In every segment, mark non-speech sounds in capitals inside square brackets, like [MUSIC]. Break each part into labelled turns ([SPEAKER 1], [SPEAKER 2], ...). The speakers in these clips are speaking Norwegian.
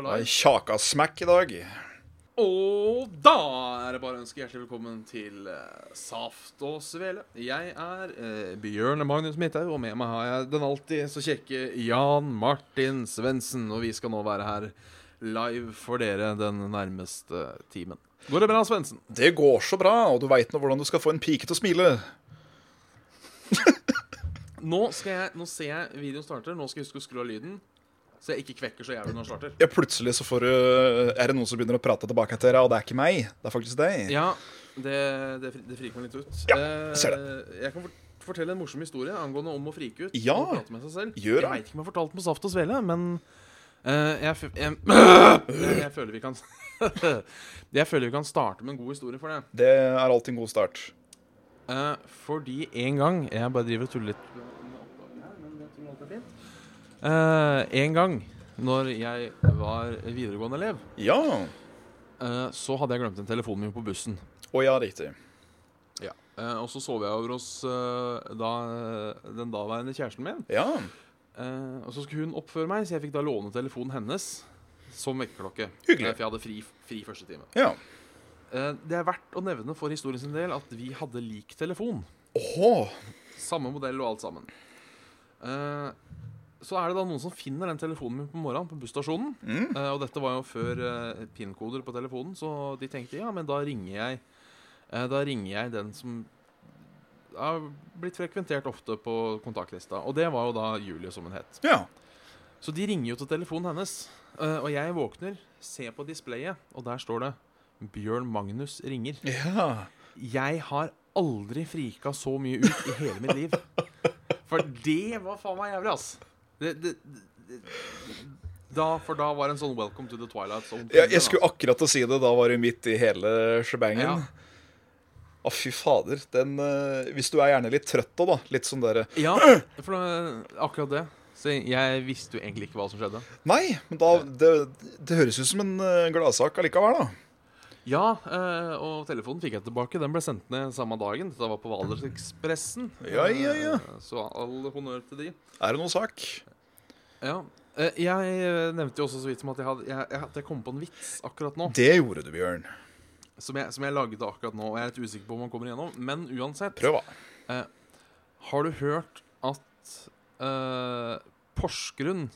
[SPEAKER 1] Det er Kjakasmekk i dag.
[SPEAKER 2] Og da er det bare å ønske hjertelig velkommen til eh, Saft og Svele. Jeg er eh, Bjørn Magnus Midthaug, og med meg har jeg den alltid så kjekke Jan Martin Svendsen. Og vi skal nå være her live for dere den nærmeste timen. Går det bra, Svendsen?
[SPEAKER 1] Det går så bra, og du veit nå hvordan du skal få en pike til å smile.
[SPEAKER 2] Nå, skal jeg, nå ser jeg videoen starter. Nå skal jeg huske å skru av lyden, så jeg ikke kvekker så jævlig når den starter.
[SPEAKER 1] Ja, plutselig så får du eh, Er det noen som begynner å prate tilbake til deg, og det er ikke meg. Det er faktisk deg.
[SPEAKER 2] Ja, det, det, fri- det friker meg litt ut.
[SPEAKER 1] Ja, jeg ser
[SPEAKER 2] Eh, Jeg kan fort- fortelle en morsom historie angående om å frike ut.
[SPEAKER 1] Ja,
[SPEAKER 2] og prate med seg selv.
[SPEAKER 1] gjør det.
[SPEAKER 2] Jeg veit ikke om jeg har fortalt den på Saft og Svele, men eh, jeg, f- jeg, [CLEARS THROAT] jeg, jeg føler vi kan [LAUGHS] Jeg føler vi kan starte med en god historie for det.
[SPEAKER 1] Det er alltid en god start.
[SPEAKER 2] Eh, fordi en gang Jeg bare driver og tuller litt. med oppgaven her, men jeg tror alt er fint. Eh, en gang når jeg var videregående elev,
[SPEAKER 1] Ja.
[SPEAKER 2] eh, så hadde jeg glemt en telefon min på bussen.
[SPEAKER 1] Å ja, riktig.
[SPEAKER 2] Ja. Eh, og så sov jeg over hos eh, da, den daværende kjæresten min.
[SPEAKER 1] Ja.
[SPEAKER 2] Eh, og så skulle hun opp før meg, så jeg fikk da låne telefonen hennes som vekkerklokke.
[SPEAKER 1] Hyggelig.
[SPEAKER 2] Eh, For jeg hadde fri, fri første time.
[SPEAKER 1] Ja.
[SPEAKER 2] Eh, det er verdt å nevne for historien sin del at vi hadde lik telefon.
[SPEAKER 1] Åhå.
[SPEAKER 2] Samme modell og alt sammen. Eh, så er det da noen som finner den telefonen min på morgenen på busstasjonen.
[SPEAKER 1] Mm.
[SPEAKER 2] Eh, og dette var jo før eh, PIN-koder på telefonen, så de tenkte ja, men da ringer jeg eh, Da ringer jeg den som har blitt frekventert ofte på kontaktlista. Og det var jo da Julie, som hun het.
[SPEAKER 1] Ja.
[SPEAKER 2] Så de ringer jo til telefonen hennes. eh, og jeg våkner, ser på displayet, og der står det 'Bjørn Magnus ringer'.
[SPEAKER 1] Ja.
[SPEAKER 2] Jeg har aldri frika så mye ut i hele mitt liv. For det var faen meg jævlig, ass. Det, det, det, da, for da var det en sånn 'Welcome to the Twilight Zone'.
[SPEAKER 1] Jeg, jeg skulle akkurat til å si det. Da var du midt i hele shebangen.
[SPEAKER 2] Ja.
[SPEAKER 1] Å, fy fader. Den eh, Hvis du er gjerne litt trøtt da, da. Litt sånn derre
[SPEAKER 2] Ja, for det, akkurat det. Så jeg visste jo egentlig ikke hva som skjedde.
[SPEAKER 1] Nei, men da Det, det høres ut som en eh, gladsak allikevel, da.
[SPEAKER 2] Ja, eh, og telefonen fikk jeg tilbake. Den ble sendt ned samme dagen. Dette var på Valdresekspressen.
[SPEAKER 1] Ja, ja, ja.
[SPEAKER 2] Eh, Så all honnør til de.
[SPEAKER 1] Er det noe sak?
[SPEAKER 2] Ja. Eh, Jeg eh, nevnte jo også så vidt som at jeg, hadde, jeg, at jeg kom på en vits akkurat nå.
[SPEAKER 1] Det gjorde du, Bjørn.
[SPEAKER 2] som jeg, som jeg laget akkurat nå, og jeg er litt usikker på om han kommer igjennom. Men uansett,
[SPEAKER 1] Prøv, da.
[SPEAKER 2] har du hørt at eh, Porsgrunn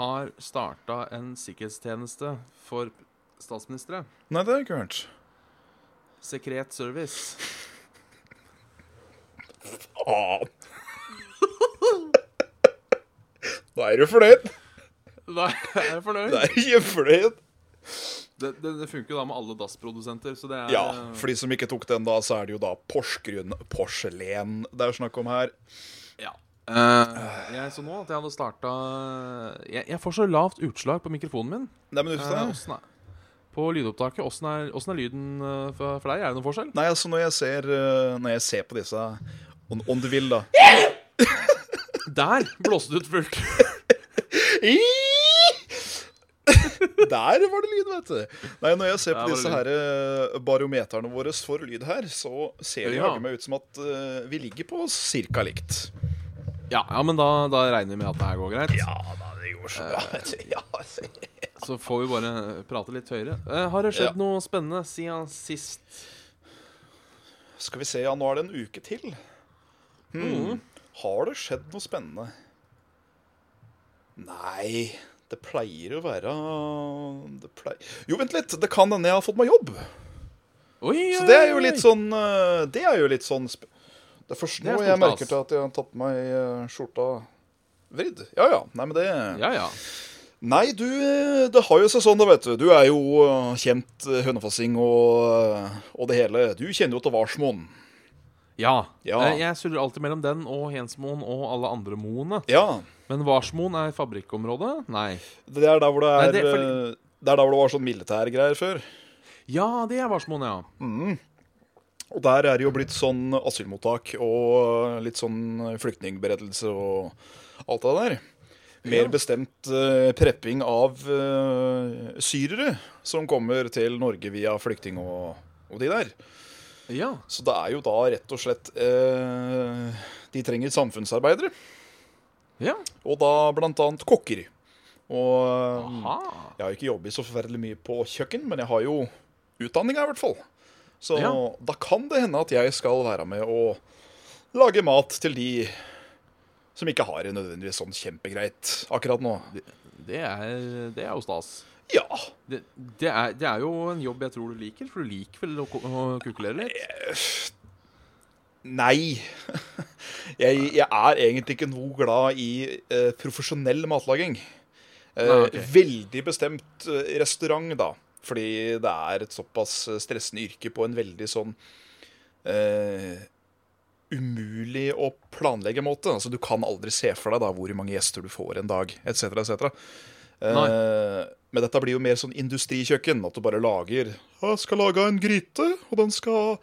[SPEAKER 2] har starta en sikkerhetstjeneste for statsministre?
[SPEAKER 1] Nei, det har jeg ikke hørt.
[SPEAKER 2] Sekret service.
[SPEAKER 1] Faen. [LAUGHS] Da er du fornøyd.
[SPEAKER 2] [LAUGHS] Nei, er jeg fornøyd?
[SPEAKER 1] Da er du kjempefornøyd.
[SPEAKER 2] Det, det, det funker jo da med alle DAS-produsenter, så det er
[SPEAKER 1] Ja,
[SPEAKER 2] eh,
[SPEAKER 1] for de som ikke tok den, da, så er det jo da Porsgrunn porselen det er snakk om her.
[SPEAKER 2] ja. Eh, jeg så nå at jeg hadde starta jeg, jeg får så lavt utslag på mikrofonen min.
[SPEAKER 1] Nei, men uff
[SPEAKER 2] Eh,
[SPEAKER 1] da.
[SPEAKER 2] åssen er, på lydopptaket, åssen er, åssen er lyden eh, for, for deg? Er det noen forskjell?
[SPEAKER 1] Nei, altså, når jeg ser, eh, når jeg ser på disse om, om du vil, da.
[SPEAKER 2] Der blåste det ut fullt.
[SPEAKER 1] Der var det lyd, vet du. Nei, Når jeg ser
[SPEAKER 2] Der
[SPEAKER 1] på
[SPEAKER 2] var det
[SPEAKER 1] disse her eh, barometerne våre for lyd her, så ser det
[SPEAKER 2] Ja.
[SPEAKER 1] jaggu meg ut som at eh, vi ligger på cirka likt.
[SPEAKER 2] [LAUGHS] Ja, ja men da, da regner vi med at det her går greit.
[SPEAKER 1] Ja da, det gjorde så bra. Eh, [LAUGHS] ja, altså.
[SPEAKER 2] Så får vi bare prate litt høyere. Eh, har det skjedd
[SPEAKER 1] Ja.
[SPEAKER 2] noe spennende siden sist?
[SPEAKER 1] Skal vi se, ja, nå er det en uke til. Hmm. Har det skjedd noe spennende? Nei, det pleier å være det pleier... Jo, vent litt. Det kan hende jeg har fått meg jobb.
[SPEAKER 2] Oi,
[SPEAKER 1] Så det er jo litt sånn eh, Det er jo litt sånn sp Det er først
[SPEAKER 2] Det er
[SPEAKER 1] nå
[SPEAKER 2] stor
[SPEAKER 1] jeg merker
[SPEAKER 2] stas.
[SPEAKER 1] til at jeg har tatt på meg eh, skjorta vridd. Ja ja. Nei, men det
[SPEAKER 2] Ja, ja.
[SPEAKER 1] Nei, du eh, Det har jo seg sånn, da, vet du. Du er jo eh, kjent eh, hønefossing og, eh, og det hele. Du kjenner jo til Varsmoen.
[SPEAKER 2] ja.
[SPEAKER 1] Ja.
[SPEAKER 2] Eh, jeg surrer alltid mellom den og Hensmoen og alle andre moene.
[SPEAKER 1] Ja.
[SPEAKER 2] Men Varsmoen er fabrikkområdet? Nei.
[SPEAKER 1] Det er der hvor det er,
[SPEAKER 2] Nei, det er fordi-
[SPEAKER 1] eh, det er der hvor det var sånn militærgreier før.
[SPEAKER 2] Ja, det er Varsmoen, ja.
[SPEAKER 1] Og der er det jo blitt sånn asylmottak og litt sånn flyktningberedelse og alt det der. Mer bestemt eh, prepping av eh, syrere som kommer til Norge via flyktning og, og de der.
[SPEAKER 2] Ja.
[SPEAKER 1] Så det er jo da rett og slett eh, De trenger samfunnsarbeidere,
[SPEAKER 2] ja.
[SPEAKER 1] og da blant annet kokker. Og um,
[SPEAKER 2] Aha.
[SPEAKER 1] jeg har ikke jobbet så forferdelig mye på kjøkken, men jeg har jo utdanninga, i hvert fall. Så
[SPEAKER 2] Ja.
[SPEAKER 1] da kan det hende at jeg skal være med og lage mat til de som ikke har det nødvendigvis sånn kjempegreit akkurat nå.
[SPEAKER 2] Det er, det er jo stas.
[SPEAKER 1] Ja,
[SPEAKER 2] Det, det, er, det er jo en jobb jeg tror du liker, for du liker vel å, ko- å kukulere litt?
[SPEAKER 1] Nei. [LAUGHS] Jeg, jeg er egentlig ikke noe glad i eh, profesjonell matlaging. Eh,
[SPEAKER 2] Nei, ok.
[SPEAKER 1] Veldig bestemt eh, restaurant, da. Fordi det er et såpass eh, stressende yrke på en veldig sånn eh, umulig å planlegge måte. Altså, du kan aldri se for deg da, hvor mange gjester du får en dag, etc. etc. Eh, men dette blir jo mer sånn industrikjøkken, at du bare lager Jeg skal lage en gryte, og den skal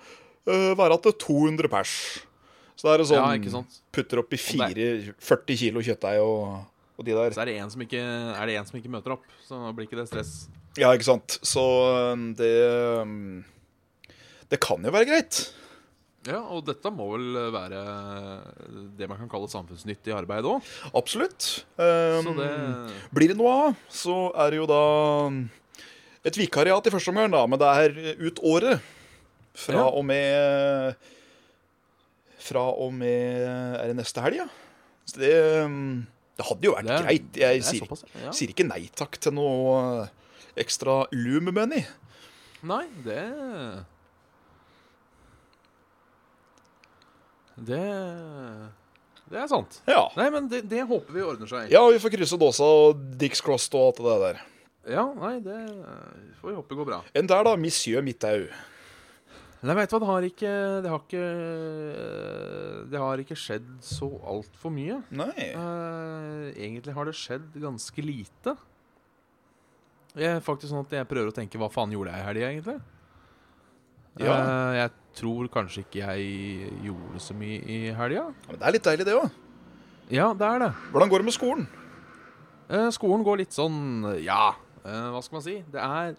[SPEAKER 1] eh, være til 200 pers. Så det er jo sånn
[SPEAKER 2] Ja, ikke sant?
[SPEAKER 1] Putter oppi
[SPEAKER 2] Og
[SPEAKER 1] 40 kilo kjøttdeig og, og de der.
[SPEAKER 2] Så er det, en som ikke, er det en som ikke møter opp, så da blir ikke det stress.
[SPEAKER 1] Ja, ikke sant. Så øhm, det øhm, Det kan jo være greit.
[SPEAKER 2] Ja, Og dette må vel være det man kan kalle samfunnsnyttig arbeid òg.
[SPEAKER 1] Absolutt. Eh, Øhm,
[SPEAKER 2] Så det
[SPEAKER 1] Blir det noe av, så er det jo da øhm, et vikariat i første omgang, da, men det er ut året. Fra
[SPEAKER 2] Ja.
[SPEAKER 1] og med Fra og med Er det neste helg, ja? Så det, øhm, det hadde jo vært
[SPEAKER 2] Det er-
[SPEAKER 1] greit.
[SPEAKER 2] det
[SPEAKER 1] Jeg
[SPEAKER 2] er
[SPEAKER 1] sier,
[SPEAKER 2] såpass, ja.
[SPEAKER 1] sier ikke nei takk til noe øh, ekstra loom money.
[SPEAKER 2] Nei, det Det Det er sant.
[SPEAKER 1] Ja.
[SPEAKER 2] Nei, men det, det håper vi ordner seg.
[SPEAKER 1] ja, vi får krysse dåsa og dicks crossed og alt det der.
[SPEAKER 2] nei, det får vi håpe går bra.
[SPEAKER 1] Enn der, da. Monsieur Midthaug.
[SPEAKER 2] Nei, veit du hva, det har ikke Det har ikke, det har ikke skjedd så altfor mye.
[SPEAKER 1] Nei.
[SPEAKER 2] Eh, egentlig har det skjedd ganske lite. Jeg er faktisk sånn at jeg prøver å tenke hva faen gjorde jeg i helga, egentlig?
[SPEAKER 1] Ja.
[SPEAKER 2] Eh, jeg tror kanskje ikke jeg gjorde så mye i helga.
[SPEAKER 1] Ja, Men det er litt deilig, det òg.
[SPEAKER 2] Ja, det er det.
[SPEAKER 1] Hvordan går det med skolen?
[SPEAKER 2] Eh, skolen går litt sånn Ja, eh, hva skal man si? Det er,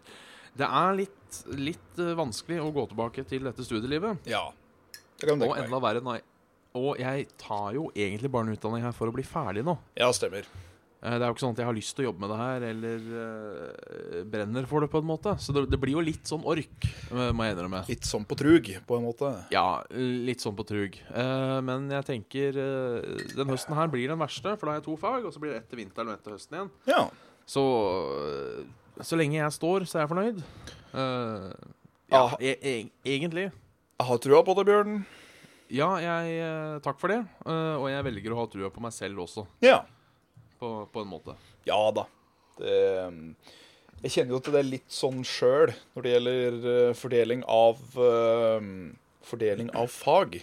[SPEAKER 2] det er litt, litt eh, vanskelig å gå tilbake til dette studielivet.
[SPEAKER 1] Ja. Det kan du
[SPEAKER 2] Og
[SPEAKER 1] tenke meg.
[SPEAKER 2] enda verre nei. Og jeg tar jo egentlig bare en utdanning her for å bli ferdig nå.
[SPEAKER 1] Ja, stemmer.
[SPEAKER 2] Eh, Det er jo ikke sånn at jeg har lyst til å jobbe med det her, eller eh, brenner for det, på en måte. Så det, det blir jo litt sånn ork, eh, må jeg innrømme.
[SPEAKER 1] Litt sånn på trug, på en måte.
[SPEAKER 2] Ja, litt sånn på trug. Eh, men jeg tenker eh, den høsten her blir den verste, for da har jeg to fag, og så blir det ett til vinteren og ett til høsten igjen.
[SPEAKER 1] Ja.
[SPEAKER 2] Så eh, så lenge jeg står, så er jeg fornøyd. Eh, ja,
[SPEAKER 1] Ah.
[SPEAKER 2] e e egentlig.
[SPEAKER 1] Jeg har trua på det, Bjørn.
[SPEAKER 2] Ja, jeg eh, Takk for det. eh, og jeg velger å ha trua på meg selv også,
[SPEAKER 1] Ja.
[SPEAKER 2] på, på en måte.
[SPEAKER 1] Ja da. Det, eh, jeg kjenner jo til det litt sånn sjøl når det gjelder eh, fordeling av eh, Fordeling av fag.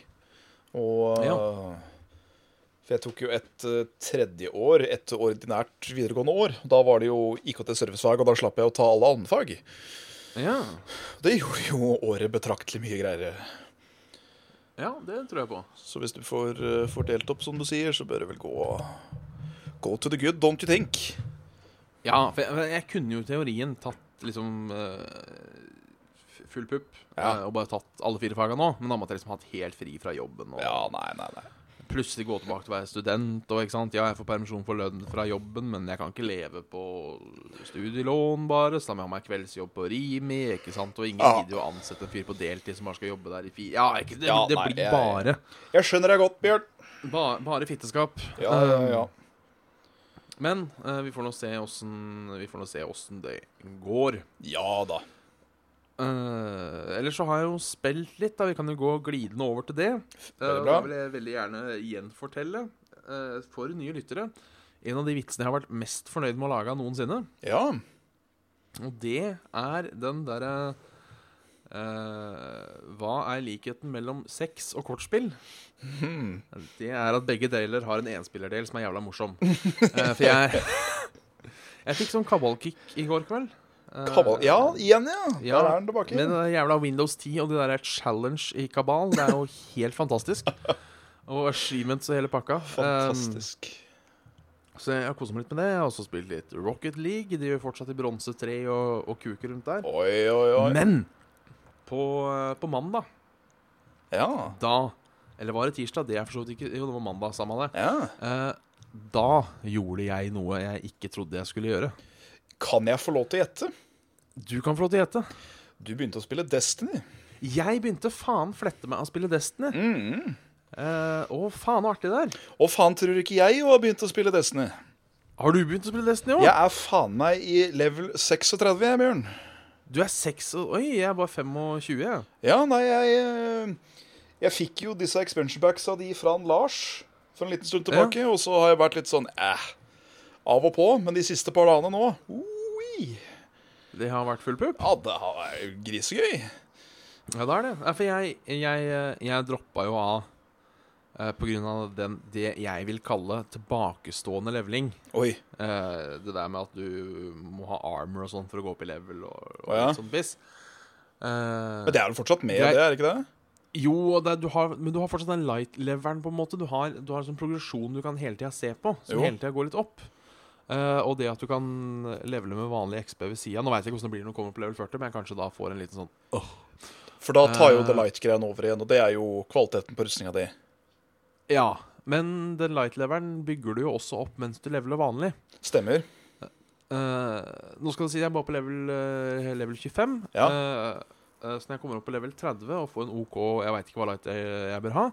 [SPEAKER 1] Og eh, For jeg tok jo et eh, tredje år etter ordinært videregående år. Da var det jo IKT-servicefag, og da slapp jeg å ta alle allmennfag.
[SPEAKER 2] Ja.
[SPEAKER 1] Det gjorde jo året betraktelig mye greiere.
[SPEAKER 2] ja, det tror jeg på.
[SPEAKER 1] Så hvis du får, eh, får delt opp, som du sier, så bør det vel gå Go to the good, don't you think?
[SPEAKER 2] Ja, for jeg, for jeg kunne jo i teorien tatt liksom eh, full pupp
[SPEAKER 1] Ja.
[SPEAKER 2] eh, og bare tatt alle fire fagene nå, men da måtte jeg liksom hatt helt fri fra jobben og
[SPEAKER 1] Ja, nei, nei, nei.
[SPEAKER 2] plutselig gå tilbake til å være student og ikke sant, ja, jeg får permisjon for lønn fra jobben, men jeg kan ikke leve på studielån bare, så da må jeg ha meg kveldsjobb på Rimi, ikke sant, og ingen
[SPEAKER 1] Ja.
[SPEAKER 2] gidder jo å ansette en fyr på deltid som bare skal jobbe der i fire Ja, ikke, det,
[SPEAKER 1] Ja,
[SPEAKER 2] det
[SPEAKER 1] nei,
[SPEAKER 2] blir
[SPEAKER 1] jeg-
[SPEAKER 2] bare,
[SPEAKER 1] Jeg skjønner deg godt, Bjørn.
[SPEAKER 2] ba, bare fitteskap. Um,
[SPEAKER 1] Ja, ja, ja.
[SPEAKER 2] Men eh, vi får nå se åssen- vi får nå se åssen det går.
[SPEAKER 1] Ja da.
[SPEAKER 2] Eh, ellers så har jeg jo spilt litt, da. Vi kan jo gå glidende over til det.
[SPEAKER 1] Veldig
[SPEAKER 2] Eh,
[SPEAKER 1] bra.
[SPEAKER 2] Da vil jeg veldig gjerne gjenfortelle eh, for nye lyttere en av de vitsene jeg har vært mest fornøyd med å lage noensinne.
[SPEAKER 1] Ja.
[SPEAKER 2] Og det er den derre eh, Hva er likheten mellom sex og kortspill?
[SPEAKER 1] Hmm.
[SPEAKER 2] Det er at begge deler har en enspillerdel som er jævla morsom. Eh, for jeg [LAUGHS] Jeg fikk sånn kabalkick i går kveld. Eh,
[SPEAKER 1] Kabal. Ja, igjen, ja.
[SPEAKER 2] Ja,
[SPEAKER 1] Der er den tilbake.
[SPEAKER 2] Men det jævla Windows 10 og det der challenge i kabal, det er jo helt
[SPEAKER 1] [LAUGHS]
[SPEAKER 2] fantastisk. Og achievements og hele pakka.
[SPEAKER 1] Fantastisk.
[SPEAKER 2] Um, så jeg har koset meg litt med det. Jeg har også spilt litt Rocket League. De gjør fortsatt i bronse 3 og, og kuker rundt der.
[SPEAKER 1] Oi, oi, oi.
[SPEAKER 2] Men på, eh, på mandag,
[SPEAKER 1] Ja.
[SPEAKER 2] da Eller var det tirsdag? Det er for så vidt ikke Jo, det var mandag, samme det.
[SPEAKER 1] Ja.
[SPEAKER 2] Eh, Da gjorde jeg noe jeg ikke trodde jeg skulle gjøre.
[SPEAKER 1] Kan jeg få lov til å gjette?
[SPEAKER 2] Du kan få lov til å gjette.
[SPEAKER 1] Du begynte å spille Destiny.
[SPEAKER 2] Jeg begynte faen flette meg å spille Destiny.
[SPEAKER 1] Mm.
[SPEAKER 2] Eh, å, faen så artig det er.
[SPEAKER 1] Og faen tror ikke jeg har begynt å spille Destiny.
[SPEAKER 2] Har du begynt å spille Destiny òg?
[SPEAKER 1] Jeg er faen meg i level 36, jeg, Bjørn.
[SPEAKER 2] Du er seks og Oi, jeg er bare 25. jeg.
[SPEAKER 1] Ja, nei, jeg eh, Jeg fikk jo disse expansion backs av de fra en Lars for en liten stund tilbake, og så har jeg vært litt sånn eh, av og på, men de siste par dagene nå oi,
[SPEAKER 2] Det har vært full pupp?
[SPEAKER 1] Ja, det er jo grisegøy.
[SPEAKER 2] Ja, det er det. Nei, for jeg, jeg, eh, jeg droppa jo av eh, på grunn av den, det jeg vil kalle tilbakestående leveling.
[SPEAKER 1] Oi.
[SPEAKER 2] Eh, det der med at du må ha armor og sånn for å gå opp i level og, og
[SPEAKER 1] Å, ja.
[SPEAKER 2] litt sånn piss. Eh,
[SPEAKER 1] Men det er vel fortsatt med,
[SPEAKER 2] Jeg-
[SPEAKER 1] det, er det ikke det?
[SPEAKER 2] jo, og det, er- du har, men du har fortsatt den light-leveren, på en måte. Du har, du har en sånn progresjon du kan hele tida se på, som
[SPEAKER 1] Jo.
[SPEAKER 2] hele tida går litt opp. Eh, og det at du kan levele med vanlig XP ved sida Nå veit jeg ikke hvordan det blir når du kommer opp på level 40, men jeg kanskje da får en liten sånn
[SPEAKER 1] For da tar jo
[SPEAKER 2] Eh.
[SPEAKER 1] The Light-greien over igjen, og det er jo kvaliteten på rustninga di.
[SPEAKER 2] Ja, men den light-leveren bygger du jo også opp mens du leveler vanlig.
[SPEAKER 1] Stemmer.
[SPEAKER 2] Eh, nå skal du si jeg er bare på level, eh, level 25.
[SPEAKER 1] Ja.
[SPEAKER 2] Eh, eh, så når jeg kommer opp på level 30 og får en OK Jeg veit ikke hva light jeg, jeg bør ha.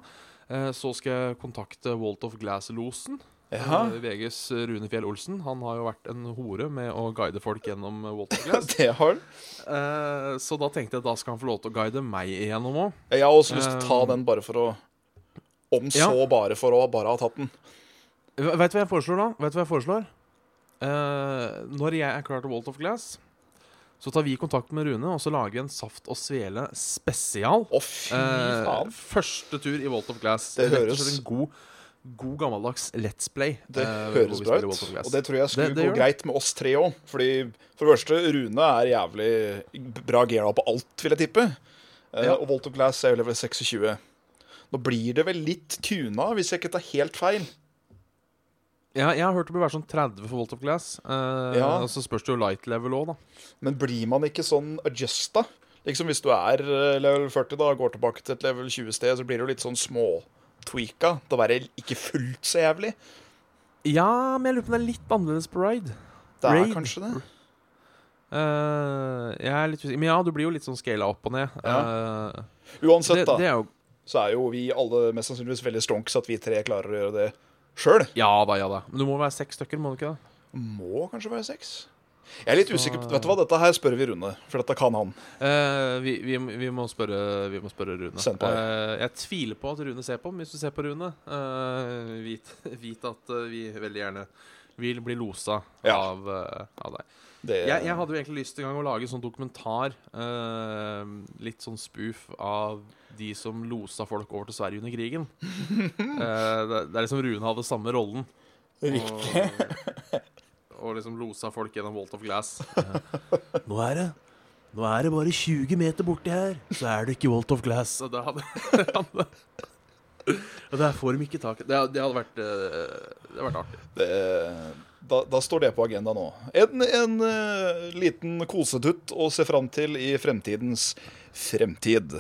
[SPEAKER 2] eh, så skal jeg kontakte Walt of Glass-losen.
[SPEAKER 1] Ja,
[SPEAKER 2] eh, VGs Rune Fjell Olsen. Han har jo vært en hore med å guide folk gjennom eh, Walt of Glass.
[SPEAKER 1] [LAUGHS] det har den.
[SPEAKER 2] [LAUGHS] Eh, så da tenkte jeg at da skal han få lov til å guide meg igjennom òg.
[SPEAKER 1] Jeg har også lyst til å ta
[SPEAKER 2] Eh.
[SPEAKER 1] den bare for å Om så
[SPEAKER 2] Ja.
[SPEAKER 1] bare for å bare ha tatt den.
[SPEAKER 2] Veit du hva jeg foreslår da? Vet du hva jeg foreslår? Eh, når jeg er klar til Walt of Glass, så tar vi kontakt med Rune, og så lager vi en Saft og Svele spesial.
[SPEAKER 1] Å, fy
[SPEAKER 2] Eh,
[SPEAKER 1] faen.
[SPEAKER 2] første tur i Walt of Glass.
[SPEAKER 1] Det
[SPEAKER 2] Rett og
[SPEAKER 1] høres-
[SPEAKER 2] slett En god, god gammeldags Let's Play.
[SPEAKER 1] Det
[SPEAKER 2] eh, hvor
[SPEAKER 1] høres
[SPEAKER 2] vi
[SPEAKER 1] bra
[SPEAKER 2] spiller
[SPEAKER 1] ut.
[SPEAKER 2] Walt of Glass.
[SPEAKER 1] Og det tror jeg skulle
[SPEAKER 2] Det- det gjør
[SPEAKER 1] gå greit med oss tre òg. Fordi for det første, Rune er jævlig bra gira på alt, vil jeg tippe. Eh,
[SPEAKER 2] Ja.
[SPEAKER 1] Og Volt of Glass er jo level 26. Nå blir det vel litt tuna, hvis jeg ikke tar helt feil.
[SPEAKER 2] ja, jeg har hørt det bør være sånn 30 for Walt of Glass. eh,
[SPEAKER 1] Ja.
[SPEAKER 2] Og så spørs det jo light level òg, da.
[SPEAKER 1] Men blir man ikke sånn adjusta? Liksom Hvis du er eh, level 40 da, og går tilbake til et level 20-sted, så blir det jo litt sånn småtweaka. Det å være ikke fullt så jævlig.
[SPEAKER 2] Ja, men jeg lurer på om det er litt annerledes på Ride.
[SPEAKER 1] Det er
[SPEAKER 2] Raid.
[SPEAKER 1] kanskje det.
[SPEAKER 2] Eh, jeg er litt usikker. Men ja, du blir jo litt sånn scala opp og ned. Eh,
[SPEAKER 1] Uansett,
[SPEAKER 2] det, det
[SPEAKER 1] da,
[SPEAKER 2] er jo
[SPEAKER 1] så er jo vi alle mest sannsynligvis veldig stonks at vi tre klarer å gjøre det sjøl.
[SPEAKER 2] Ja da, ja da. Men du må være seks stykker, må du ikke det?
[SPEAKER 1] Må kanskje være seks. Jeg er litt
[SPEAKER 2] Så-
[SPEAKER 1] usikker på Vet du hva, dette her spør vi Rune, for dette kan han.
[SPEAKER 2] Eh, vi, vi, vi, må spørre, vi må spørre Rune.
[SPEAKER 1] Send på.
[SPEAKER 2] Eh, jeg tviler på at Rune ser på, men hvis du ser på Rune, eh, vit, [LAUGHS] vit at eh, vi veldig gjerne vil bli losa
[SPEAKER 1] Ja.
[SPEAKER 2] av, eh, av deg.
[SPEAKER 1] Det,
[SPEAKER 2] Jeg, jeg hadde jo egentlig lyst til en gang å lage sånn dokumentar, eh, litt sånn spoof av de som losa folk over til Sverige under krigen. Eh, det, det er liksom Rune hadde samme rollen.
[SPEAKER 1] Riktig.
[SPEAKER 2] Og, og liksom losa folk gjennom Walt of Glass. [LAUGHS] Nå er det Nå er det bare 20 meter borti her, så er det ikke Walt of Glass. Og det hadde, [LAUGHS] hadde og der får de ikke tak i det, hadde- det hadde vært eh, Det hadde vært artig.
[SPEAKER 1] Det, da, da står det på agenda nå. En, en eh, liten kosetutt å se fram til i fremtidens fremtid.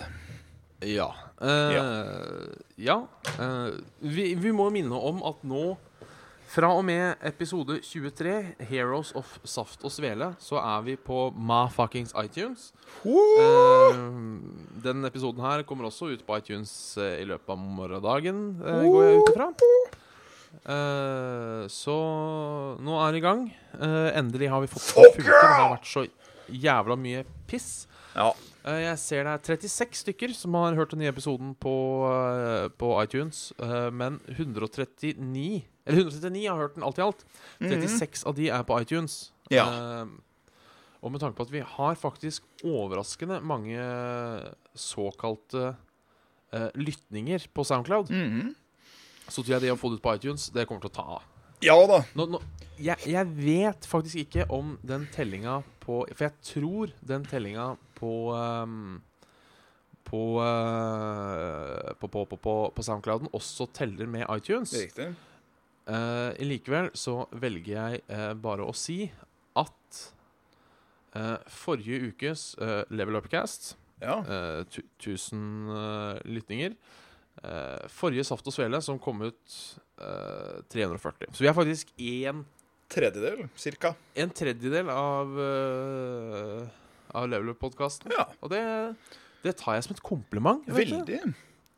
[SPEAKER 2] Ja. Eh, ja. eh, vi, vi må minne om at nå, fra og med episode 23, 'Heroes of Saft og Svele', så er vi på ma fuckings iTunes. Eh, den episoden her kommer også ut på iTunes eh, i løpet av morgendagen, eh, går jeg ut ifra. Eh, så nå er det i gang. Eh, endelig har vi fått fulgt det. Det har vært så jævla mye piss.
[SPEAKER 1] Ja.
[SPEAKER 2] Eh, jeg ser det er 36 stykker som har hørt den nye episoden på, eh, på iTunes, eh, men 139 Eller 139 har hørt den alt i alt. 36 av de er på iTunes.
[SPEAKER 1] Ja.
[SPEAKER 2] Eh, og med tanke på at vi har faktisk overraskende mange såkalte eh, lytninger på SoundCloud,
[SPEAKER 1] Mhm.
[SPEAKER 2] så tror jeg det å få det ut på iTunes, det kommer til å ta av.
[SPEAKER 1] Ja da.
[SPEAKER 2] Nå, nå, jeg, jeg vet faktisk ikke om den tellinga på For jeg tror den tellinga på ehm, på, eh, på, på, på, på på SoundClouden også teller med iTunes.
[SPEAKER 1] Riktig.
[SPEAKER 2] Eh, likevel så velger jeg eh, bare å si at eh, forrige ukes eh, Level Upcast
[SPEAKER 1] Ja.
[SPEAKER 2] eh, tu- 1000 eh, lytninger. eh, forrige Saft og Svele, som kom ut eh, 340. Så vi er faktisk en,
[SPEAKER 1] Tredjedel, cirka.
[SPEAKER 2] en tredjedel av, eh, av Level Up-podkasten.
[SPEAKER 1] Ja,
[SPEAKER 2] Og det, det tar jeg som et kompliment. vet du.
[SPEAKER 1] veldig.
[SPEAKER 2] Det,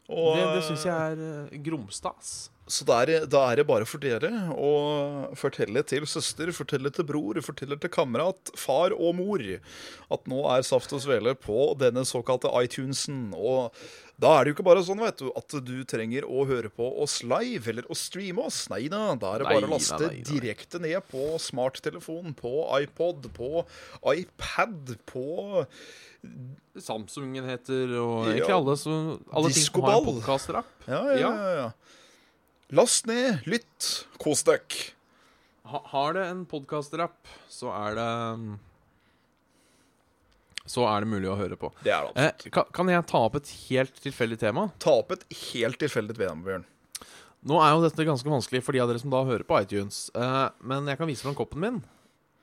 [SPEAKER 1] Og-
[SPEAKER 2] det syns jeg er eh, gromstas.
[SPEAKER 1] Så da er, det- da er det bare for dere å fortelle til søster, fortelle til bror, fortelle til kamerat, far og mor at nå er Saft og Svele på denne såkalte iTunesen. Og da er det jo ikke bare sånn vet du, at du trenger å høre på oss live eller å streame oss. Nei da, da er det bare å
[SPEAKER 2] Nei,
[SPEAKER 1] laste
[SPEAKER 2] nei, nei, nei.
[SPEAKER 1] direkte ned på smarttelefon, på iPod, på iPad, på
[SPEAKER 2] Samsungen heter, og
[SPEAKER 1] Ja.
[SPEAKER 2] egentlig alle, som, alle ting som har en
[SPEAKER 1] Discoball.
[SPEAKER 2] podcaster-app.
[SPEAKER 1] Ja, ja, ja. ja. Last ned, lytt, kos dere.
[SPEAKER 2] Ha, har det en podkast-rapp, så er det Så er det mulig å høre på.
[SPEAKER 1] Det er det
[SPEAKER 2] Eh,
[SPEAKER 1] absolutt.
[SPEAKER 2] kan, kan jeg ta opp et helt tilfeldig tema?
[SPEAKER 1] Ta opp et helt tilfeldig VM, Bjørn.
[SPEAKER 2] Nå er jo dette ganske vanskelig for de av dere som da hører på iTunes, eh, men jeg kan vise fram koppen min.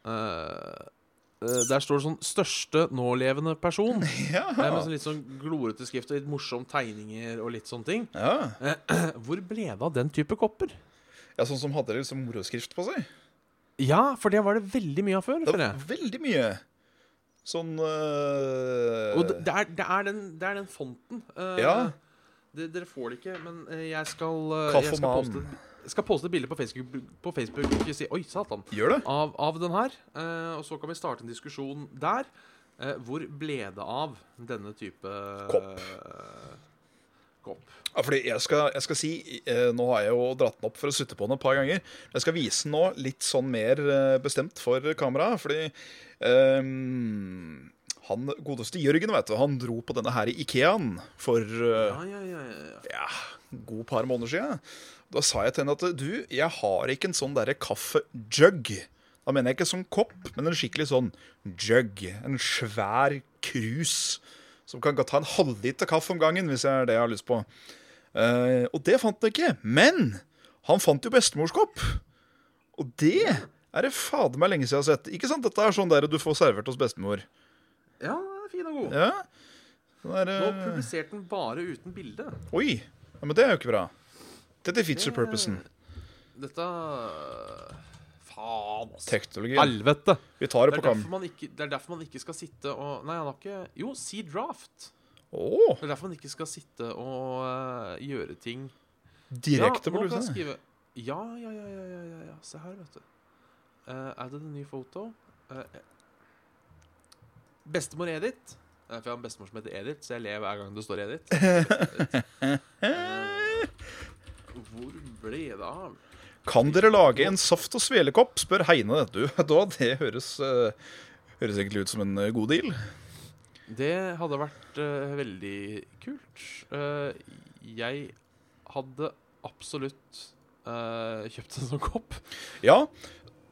[SPEAKER 2] Eh, eh, der står det sånn 'største nålevende person'. eh, Med sånn litt sånn glorete skrift og litt morsomme tegninger og litt sånne ting. Eh,
[SPEAKER 1] Ja.
[SPEAKER 2] [CLEARS THROAT] Hvor ble det av den type kopper?
[SPEAKER 1] ja, Sånn som hadde liksom moroskrift på seg.
[SPEAKER 2] Ja, for det var det veldig mye av før.
[SPEAKER 1] Det
[SPEAKER 2] føler jeg.
[SPEAKER 1] var veldig mye sånn øh,
[SPEAKER 2] Og det, det, er, det, er den, det er den fonten. Eh,
[SPEAKER 1] Ja.
[SPEAKER 2] det, dere får det ikke, men eh, jeg skal, eh, jeg skal,
[SPEAKER 1] Kaffoman.
[SPEAKER 2] poste, jeg skal poste et bilde på Facebook, på Facebook og si, Oi, satan!
[SPEAKER 1] Gjør det?
[SPEAKER 2] Av, av den her. eh, og så kan vi starte en diskusjon der. Eh, hvor ble det av denne type
[SPEAKER 1] Kopp.
[SPEAKER 2] eh, kopp.
[SPEAKER 1] Ja, fordi jeg skal, jeg skal si eh, Nå har jeg jo dratt den opp for å sutte på den et par ganger. Jeg skal vise den nå litt sånn mer eh, bestemt for kameraet, fordi ehm, han godeste Jørgen, vet du, han dro på denne her i Ikeaen for eh,
[SPEAKER 2] Ja, ja, ja, ja, ja.
[SPEAKER 1] ja, god par måneder siden. Da sa jeg til henne at du, jeg har ikke en sånn derre kaffejug. Da mener jeg ikke sånn kopp, men en skikkelig sånn jug. En svær krus som kan ta en halvliter kaffe om gangen, hvis det er det jeg har lyst på. Eh, og det fant han ikke. Men han fant jo bestemors kopp. Og det er det fader meg lenge siden jeg har sett. Ikke sant? Dette er sånn der du får servert hos bestemor.
[SPEAKER 2] ja den er fin og god.
[SPEAKER 1] Ja. Sånn der,
[SPEAKER 2] Nå
[SPEAKER 1] eh,
[SPEAKER 2] publiserte den bare uten bilde.
[SPEAKER 1] Oi! Ja, men det er jo ikke bra. Dette defeats the purposen.
[SPEAKER 2] Dette Faen, altså.
[SPEAKER 1] Teknologien.
[SPEAKER 2] Helvete!
[SPEAKER 1] Vi tar det
[SPEAKER 2] Det
[SPEAKER 1] på
[SPEAKER 2] er, derfor
[SPEAKER 1] kam.
[SPEAKER 2] man ikke, det er derfor man ikke skal sitte og Nei, han har ikke Jo, si draft.
[SPEAKER 1] Å,
[SPEAKER 2] Det er derfor man ikke skal sitte og eh, gjøre ting ja,
[SPEAKER 1] direkte på
[SPEAKER 2] nå kan jeg
[SPEAKER 1] lusa.
[SPEAKER 2] skrive ja, ja, ja, ja, ja, ja, ja. Se her, vet du. Uh, added a new photo. Eh, bestemor Edith. Eh, for jeg har en bestemor som heter Edith, så jeg ler hver gang det står
[SPEAKER 1] [LAUGHS]
[SPEAKER 2] Edith. Eh, hvor ble det av?
[SPEAKER 1] Kan dere lage en saft- og svelekopp? spør Heine. Du, [LAUGHS] da, det høres, eh, høres egentlig ut som en eh, god deal.
[SPEAKER 2] Det hadde vært eh, veldig kult. Eh, jeg hadde absolutt eh, kjøpt en sånn kopp.
[SPEAKER 1] Ja.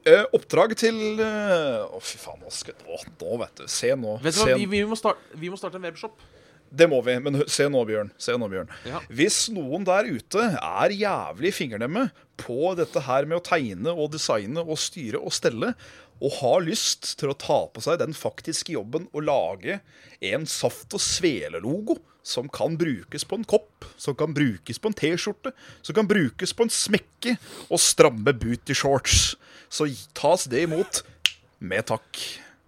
[SPEAKER 1] eh, oppdrag til eh, Å, fy faen. Nå, skal, å, nå, vet du. Se nå.
[SPEAKER 2] Vet du hva,
[SPEAKER 1] Se,
[SPEAKER 2] vi, vi, må starte, vi må starte en webshop.
[SPEAKER 1] det må vi. Men hø- se nå, Bjørn. Se nå, Bjørn.
[SPEAKER 2] Ja.
[SPEAKER 1] Hvis noen der ute er jævlig fingernemmer på dette her med å tegne og designe og styre og stelle, og har lyst til å ta på seg den faktiske jobben å lage en saft- og svelelogo som kan brukes på en kopp, som kan brukes på en T-skjorte, som kan brukes på en smekke og stramme booty-shorts, så tas det imot med takk.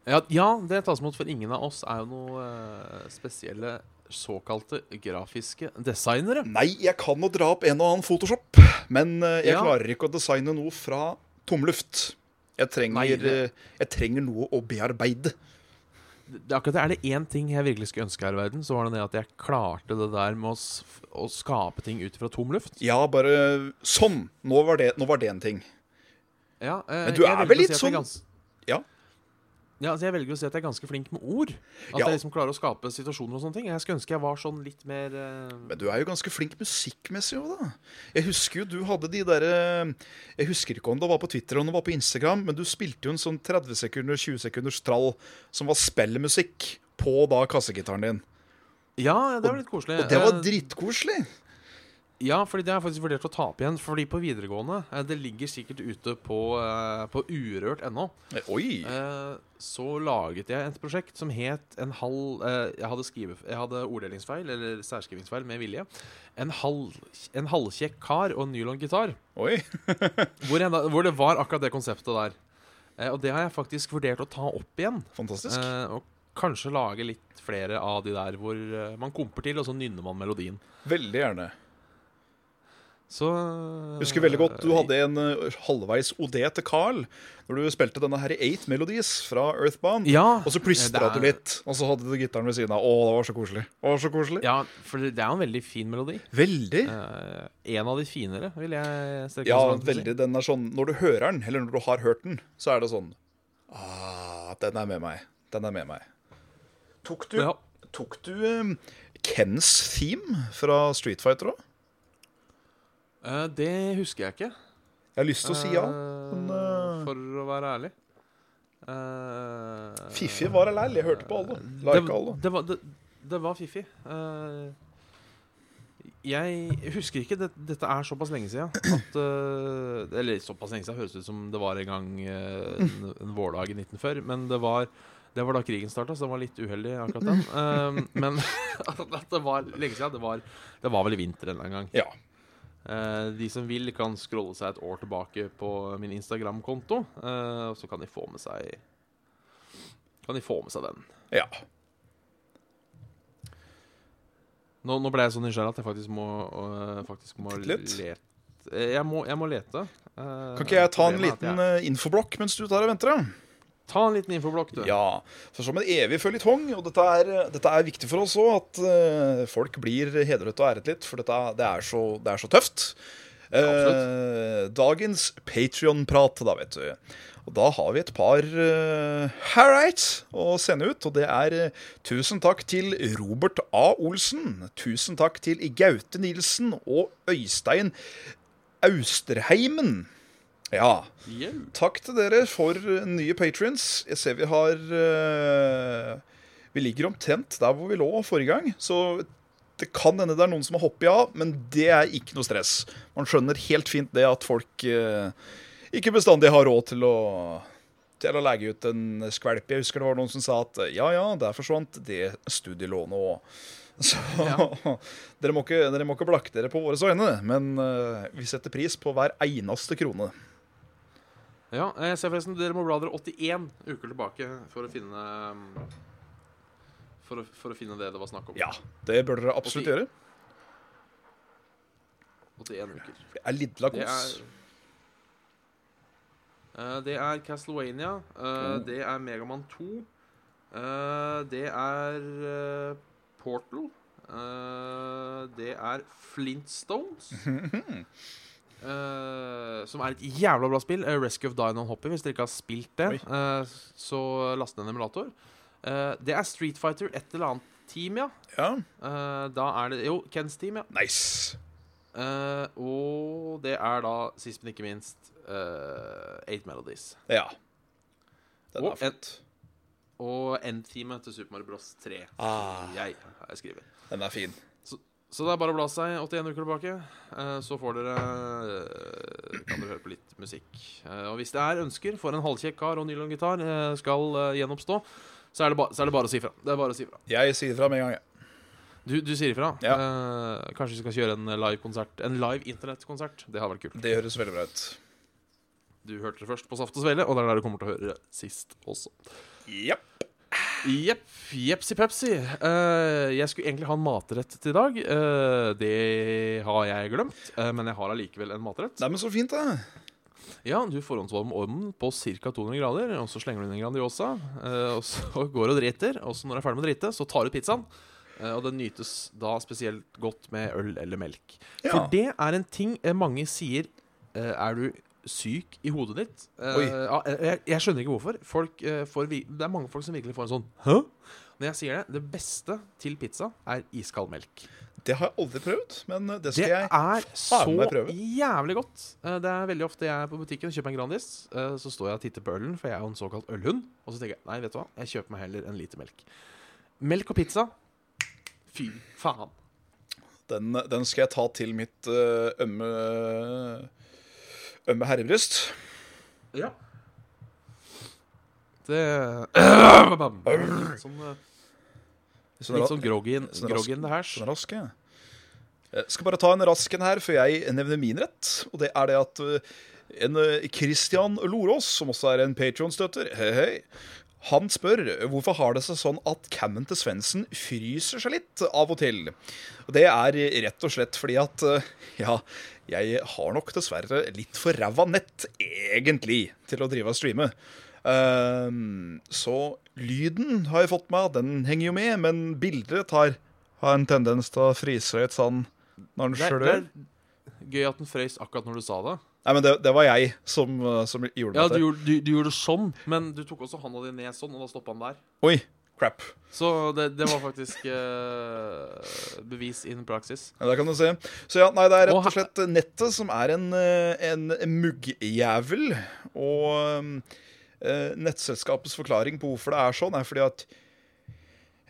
[SPEAKER 2] Ja, ja, det tas imot, for ingen av oss er jo noe eh, spesielle såkalte grafiske designere.
[SPEAKER 1] Nei, jeg kan jo dra opp en og annen Photoshop, men eh, jeg
[SPEAKER 2] Ja.
[SPEAKER 1] klarer ikke å designe noe fra tomluft. Jeg trenger,
[SPEAKER 2] Nei, det-
[SPEAKER 1] eh, jeg trenger noe å bearbeide.
[SPEAKER 2] Det er akkurat det. Er det én ting jeg virkelig skulle ønske her i verden, så var det det at jeg klarte det der med å, s- å skape ting ut fra tom luft.
[SPEAKER 1] Ja, bare sånn. Nå var det, nå var det en ting.
[SPEAKER 2] Ja, eh,
[SPEAKER 1] Men du
[SPEAKER 2] jeg
[SPEAKER 1] er
[SPEAKER 2] velger
[SPEAKER 1] vel
[SPEAKER 2] å si
[SPEAKER 1] litt
[SPEAKER 2] at jeg er
[SPEAKER 1] sånn-
[SPEAKER 2] gans-
[SPEAKER 1] Ja.
[SPEAKER 2] Ja, altså Jeg velger å si at jeg er ganske flink med ord. At
[SPEAKER 1] Ja.
[SPEAKER 2] jeg liksom klarer å skape situasjoner og sånne ting. Jeg skulle ønske jeg var sånn litt mer eh,
[SPEAKER 1] Men du er jo ganske flink musikkmessig òg, da. Jeg husker jo du hadde de derre Jeg husker ikke om det var på Twitter eller om det var på Instagram, men du spilte jo en sånn 30 sekunder, 20 sekunders trall som var spellmusikk på da kassegitaren din.
[SPEAKER 2] Ja, det var litt koselig.
[SPEAKER 1] Og det var
[SPEAKER 2] Eh,
[SPEAKER 1] dritkoselig.
[SPEAKER 2] Ja, fordi det har jeg faktisk vurdert å ta opp igjen. Fordi på videregående eh, Det ligger sikkert ute på, eh, på urørt.no.
[SPEAKER 1] Eh, Oi!
[SPEAKER 2] Eh, Så laget jeg et prosjekt som het en halv eh, Jeg hadde, skrive, jeg hadde orddelingsfeil, eller særskrivingsfeil, med vilje. En, halv, en halvkjekk kar og en nylongitar.
[SPEAKER 1] Oi.
[SPEAKER 2] Hvor, jeg da- hvor det var akkurat det konseptet der. Eh, Og det har jeg faktisk vurdert å ta opp igjen.
[SPEAKER 1] Fantastisk.
[SPEAKER 2] Eh, Og kanskje lage litt flere av de der hvor eh, man komper til, og så nynner man melodien.
[SPEAKER 1] Veldig gjerne.
[SPEAKER 2] Så
[SPEAKER 1] Husker veldig godt du hadde en eh, halvveis OD til Carl når du spilte denne her i Eight Melodies fra Earthbound.
[SPEAKER 2] Ja.
[SPEAKER 1] Og så plystra
[SPEAKER 2] det er-
[SPEAKER 1] du litt, og så hadde du gitaren ved siden av. Å, det var så koselig. Å, så koselig.
[SPEAKER 2] Ja, for det er jo en veldig fin melodi.
[SPEAKER 1] Veldig.
[SPEAKER 2] Eh, en av de finere, vil jeg strekke
[SPEAKER 1] Ja,
[SPEAKER 2] meg så langt til å si.
[SPEAKER 1] veldig. Den er sånn Når du hører den, eller når du har hørt den, så er det sånn Ah, den er med meg. Den er med meg. Tok du,
[SPEAKER 2] Ja.
[SPEAKER 1] tok du eh, Kens theme fra Street Fighter òg?
[SPEAKER 2] Eh, det husker jeg ikke.
[SPEAKER 1] Jeg har lyst til å si ja. men,
[SPEAKER 2] Eh,
[SPEAKER 1] eh,
[SPEAKER 2] For å være ærlig. Eh,
[SPEAKER 1] Fiffig var det læll. Jeg hørte på alle.
[SPEAKER 2] det,
[SPEAKER 1] Like alle.
[SPEAKER 2] det, var, det, det var fiffig. Eh, jeg husker ikke det, Dette er såpass lenge siden at eh, Eller såpass lenge siden høres det ut som det var en gang eh, en, en vårdag i 1940. Men det var, det var da krigen starta, så den var litt uheldig, akkurat den. Eh, men [LAUGHS] at det var lenge siden. Det var, det var vel i vinter en eller annen gang.
[SPEAKER 1] Ja.
[SPEAKER 2] Eh, de som vil, kan scrolle seg et år tilbake på min Instagram-konto. eh, og så kan de få med seg Kan de få med seg den.
[SPEAKER 1] ja.
[SPEAKER 2] Nå, nå ble jeg så nysgjerrig at jeg faktisk må, øh, faktisk må
[SPEAKER 1] Titte litt.
[SPEAKER 2] lete. Eh, Jeg må, jeg må lete. Eh,
[SPEAKER 1] Kan ikke jeg ta en
[SPEAKER 2] problemet er at
[SPEAKER 1] liten eh, infoblokk mens du tar og venter? da?
[SPEAKER 2] jeg, Ta en liten infoblokk, du.
[SPEAKER 1] Ja, for som en evig føljetong, og dette er, eh, dette er viktig for oss òg, at eh, folk blir hedret og æret litt, for dette, er- det, er så, det er så tøft. Eh, dagens Patrion-prat, da, vet du. Og da har vi et par eh, Harriet å sende ut, og det er eh, tusen takk til Robert A. Olsen. Tusen takk til Gaute Nilsen og Øystein Austerheimen. Ja,
[SPEAKER 2] Jau.
[SPEAKER 1] Takk til dere for eh, nye patrions. Jeg ser vi har eh, Vi ligger omtrent der hvor vi lå forrige gang. Så det kan hende det er noen som har hoppet av, men det er ikke noe stress. Man skjønner helt fint det at folk eh, ikke bestandig har råd til å til å legge ut en skvelp. Jeg husker det var noen som sa at eh, ja, ja, der forsvant det studielånet òg. [LAUGHS] Så dere, må ikke, dere må ikke blakke dere på våre øyne, men eh, vi setter pris på hver eneste krone.
[SPEAKER 2] Ja, eh, jeg ser forresten dere må bla dere 81 uker tilbake for å finne um, for å, for å finne det det var snakk om.
[SPEAKER 1] Ja, det bør dere absolutt gjøre.
[SPEAKER 2] 81 uker.
[SPEAKER 1] Det er lidla
[SPEAKER 2] Det
[SPEAKER 1] kos.
[SPEAKER 2] er Eh, Det er Castlevania. eh, Det er Megaman 2. eh, Det er eh, Portal. eh, Det er Flintstones. eh, som er et jævla bra spill. Eh, Rescue of Dinon Hoppy, hvis dere ikke har spilt det. eh, så last ned en emulator. Eh, det er Street Fighter, et eller annet team, ja.
[SPEAKER 1] Ja,
[SPEAKER 2] Eh, da er det Jo, Kens team, ja.
[SPEAKER 1] nice.
[SPEAKER 2] Eh, og det er da, sist men ikke minst, eh, Eight Melodies.
[SPEAKER 1] Ja. Den
[SPEAKER 2] Og
[SPEAKER 1] er flott.
[SPEAKER 2] et- Og endteamet til Super Mario Bros. 3.
[SPEAKER 1] Ah,
[SPEAKER 2] Jeg har skrevet.
[SPEAKER 1] den er fin.
[SPEAKER 2] Så det er bare å bla seg 81 uker tilbake, eh, så får dere eh, Kan dere høre på litt musikk. Eh, Og hvis det er ønsker for en halvkjekk kar og nylongitar eh, skal eh, gjenoppstå, så er, det ba, så er det bare å si ifra. Det er bare å si ifra.
[SPEAKER 1] Jeg sier fra med en gang. jeg.
[SPEAKER 2] Du, du sier ifra. Eh, kanskje vi skal kjøre en livekonsert. En live internettkonsert. Det hadde vært kult.
[SPEAKER 1] Det høres veldig bra ut.
[SPEAKER 2] Du hørte det først på Saft og Svele, og det er der du kommer til å høre det sist også.
[SPEAKER 1] Ja.
[SPEAKER 2] Jepp. Jepsi pepsi. Eh, jeg skulle egentlig ha en matrett til i dag. Eh, det har jeg glemt, eh, men jeg har allikevel en matrett.
[SPEAKER 1] Neimen, så fint, da.
[SPEAKER 2] Ja, Du forhåndsvarmer ovnen på ca. 200 grader, og så slenger du inn en Grandiosa. eh, og så [LAUGHS] går du og driter, og så når du er ferdig med å drite, så tar du ut pizzaen. eh, og den nytes da spesielt godt med øl eller melk.
[SPEAKER 1] Ja.
[SPEAKER 2] For det er en ting eh, mange sier eh, Er du syk i hodet ditt? Eh,
[SPEAKER 1] Oi.
[SPEAKER 2] ja, jeg, jeg skjønner ikke hvorfor. Folk, eh, får, vi- det er mange folk som virkelig får en sånn Hæ? Når jeg sier det, det beste til pizza er iskald melk.
[SPEAKER 1] Det har jeg aldri prøvd, men eh, det
[SPEAKER 2] Det
[SPEAKER 1] skal jeg
[SPEAKER 2] er så
[SPEAKER 1] meg prøve.
[SPEAKER 2] jævlig godt. Eh, Det er veldig ofte jeg er på butikken og kjøper en Grandis, eh, så står jeg og titter på ølen, for jeg er jo en såkalt ølhund. Og så tenker jeg nei, vet du hva, jeg kjøper meg heller en liter melk. Melk og pizza. Fy faen.
[SPEAKER 1] Den, eh, den skal jeg ta til mitt eh, ømme Ømme herrebryst.
[SPEAKER 2] Ja. Det [CLEARS THROAT] sånn, eh,
[SPEAKER 1] Sånn
[SPEAKER 2] Litt
[SPEAKER 1] ra-
[SPEAKER 2] sånn groggy
[SPEAKER 1] sånn rask-
[SPEAKER 2] groggy in the hash.
[SPEAKER 1] sånn rask, jeg. Jeg skal bare ta en rask en her før jeg nevner min rett. Og det er det at eh, en eh, Christian Lorås, som også er en Patron-støtter, hei, hei, han spør hvorfor har det seg sånn at cammen til Svendsen fryser seg litt av og til. Og Det er rett og slett fordi at eh, ja, jeg har nok dessverre litt for ræva nett, egentlig, til å drive og streame. Ehm, så lyden har jeg fått med, den henger jo med, men bildet tar, har en tendens til å fryse litt sånn når den
[SPEAKER 2] Det er-
[SPEAKER 1] sjøl
[SPEAKER 2] det
[SPEAKER 1] gjør.
[SPEAKER 2] er Gøy at den frøys akkurat når du sa det.
[SPEAKER 1] Nei, men det, det var jeg som, eh, som gjorde
[SPEAKER 2] Ja,
[SPEAKER 1] dette.
[SPEAKER 2] du, gjorde- du, du gjorde sånn, men du tok også hånda di ned sånn, og da stoppa han der.
[SPEAKER 1] Oi, crap.
[SPEAKER 2] Så det, det var faktisk eh, bevis in praksis.
[SPEAKER 1] Ja, der kan du se. Så ja, nei, det er
[SPEAKER 2] Og
[SPEAKER 1] rett og
[SPEAKER 2] her-
[SPEAKER 1] slett nettet som er en, eh, en muggjævel. Og um, eh, nettselskapets forklaring på hvorfor det er sånn, er fordi at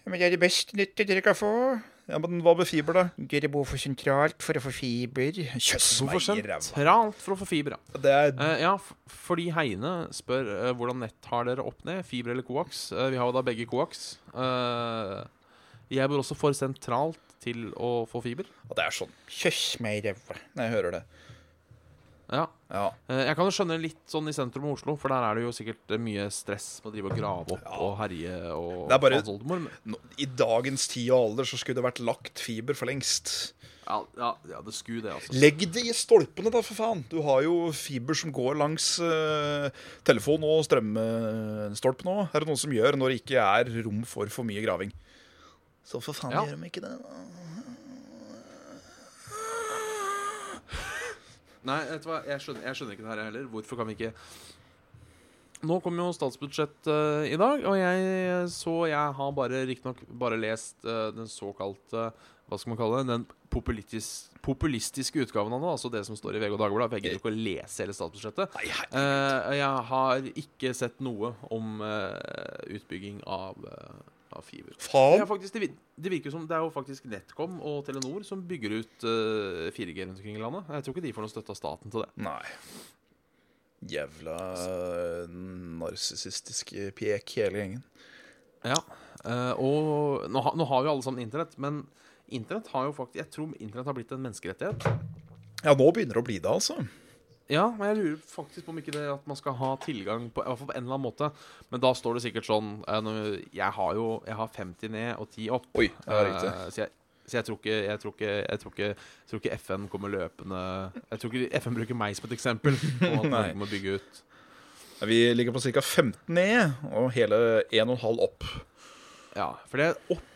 [SPEAKER 1] «Ja, Men det er det beste nyttet dere kan få. Ja, men hva med fiber, da? Dere bor for sentralt for å få fiber. Kjøss meg
[SPEAKER 2] Hvorfor
[SPEAKER 1] i ræva.
[SPEAKER 2] sentralt for å få fiber, ja.
[SPEAKER 1] Det er
[SPEAKER 2] Eh, ja, f fordi Heine spør eh, hvordan nett har dere opp ned, fiber eller koaks. Eh, vi har jo da begge koaks. Eh, jeg bor også for sentralt til å få fiber.
[SPEAKER 1] ja, det er sånn. Kjøss meg i ræva. Nei, jeg hører det.
[SPEAKER 2] Ja.
[SPEAKER 1] Ja.
[SPEAKER 2] Eh, Jeg kan jo skjønne litt sånn i sentrum av Oslo, for der er det jo sikkert eh, mye stress med å drive og grave opp og herje og
[SPEAKER 1] Det er bare-
[SPEAKER 2] faens oldemor, men-
[SPEAKER 1] Nå, I dagens tid og alder så skulle det vært lagt fiber for lengst.
[SPEAKER 2] Ja, ja, ja, det skulle det, altså.
[SPEAKER 1] Legg det i stolpene, da, for faen. Du har jo fiber som går langs eh, telefon- og strømstolpene òg. Er det noen som gjør når det ikke er rom for for mye graving? Så for faen
[SPEAKER 2] Ja.
[SPEAKER 1] gjør de ikke det. da.
[SPEAKER 2] Nei, vet du hva, jeg skjønner, jeg skjønner ikke det her heller. Hvorfor kan vi ikke Nå kom jo statsbudsjett eh, i dag, og jeg så Jeg har bare riktignok bare lest eh, den såkalte Hva skal man kalle det? Den populitis, populistiske utgaven av det, altså det som står i VG og Dagbladet. for Jeg gidder jo ikke å lese hele statsbudsjettet.
[SPEAKER 1] Nei, hei.
[SPEAKER 2] Eh, jeg har ikke sett noe om eh, utbygging av, eh, av fiber. Det,
[SPEAKER 1] Faen.
[SPEAKER 2] er faktisk, det, vir- det virker som det er jo faktisk NetCom og Telenor som bygger ut eh, 4G rundt omkring i landet. Jeg tror ikke de får noe støtte av staten til det.
[SPEAKER 1] Nei. Jævla eh, narsissistiske pjek, hele gjengen.
[SPEAKER 2] Ja, eh, og nå, ha, nå har jo alle sammen internett, men internett har jo faktisk Jeg tror internett har blitt en menneskerettighet.
[SPEAKER 1] Ja, nå begynner det å bli det, altså.
[SPEAKER 2] Ja, men jeg lurer faktisk på om ikke det at man skal ha tilgang på I hvert fall på en eller annen måte. Men da står det sikkert sånn eh, nå- Jeg har jo jeg har 50 ned og 10 opp.
[SPEAKER 1] Oi, ja, riktig.
[SPEAKER 2] Eh, så jeg, så jeg tror ikke jeg tror ikke, jeg tror ikke, jeg tror ikke FN kommer løpende Jeg tror ikke FN bruker meg som et eksempel. På
[SPEAKER 1] [LAUGHS]
[SPEAKER 2] at
[SPEAKER 1] Nei.
[SPEAKER 2] Norge må bygge ut
[SPEAKER 1] Ja, Vi ligger på ca. 15 ned og hele 1,5 opp.
[SPEAKER 2] Ja, for det er opp,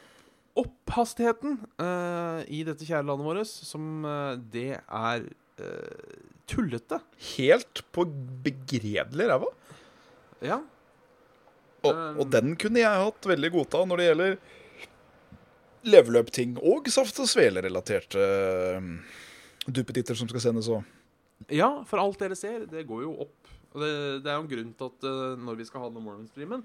[SPEAKER 2] opphastigheten eh, i dette kjære landet vårt som eh, Det er eh, tullete.
[SPEAKER 1] Helt på begredelig ræva.
[SPEAKER 2] Ja.
[SPEAKER 1] Og, og den kunne jeg hatt veldig godt av når det gjelder leveløp-ting og saft- og svelerelaterte eh, duppeditter som skal sendes òg.
[SPEAKER 2] ja, for alt dere ser, det går jo opp. Og det, det er jo en grunn til at eh, når vi skal ha den Mormon-streamen,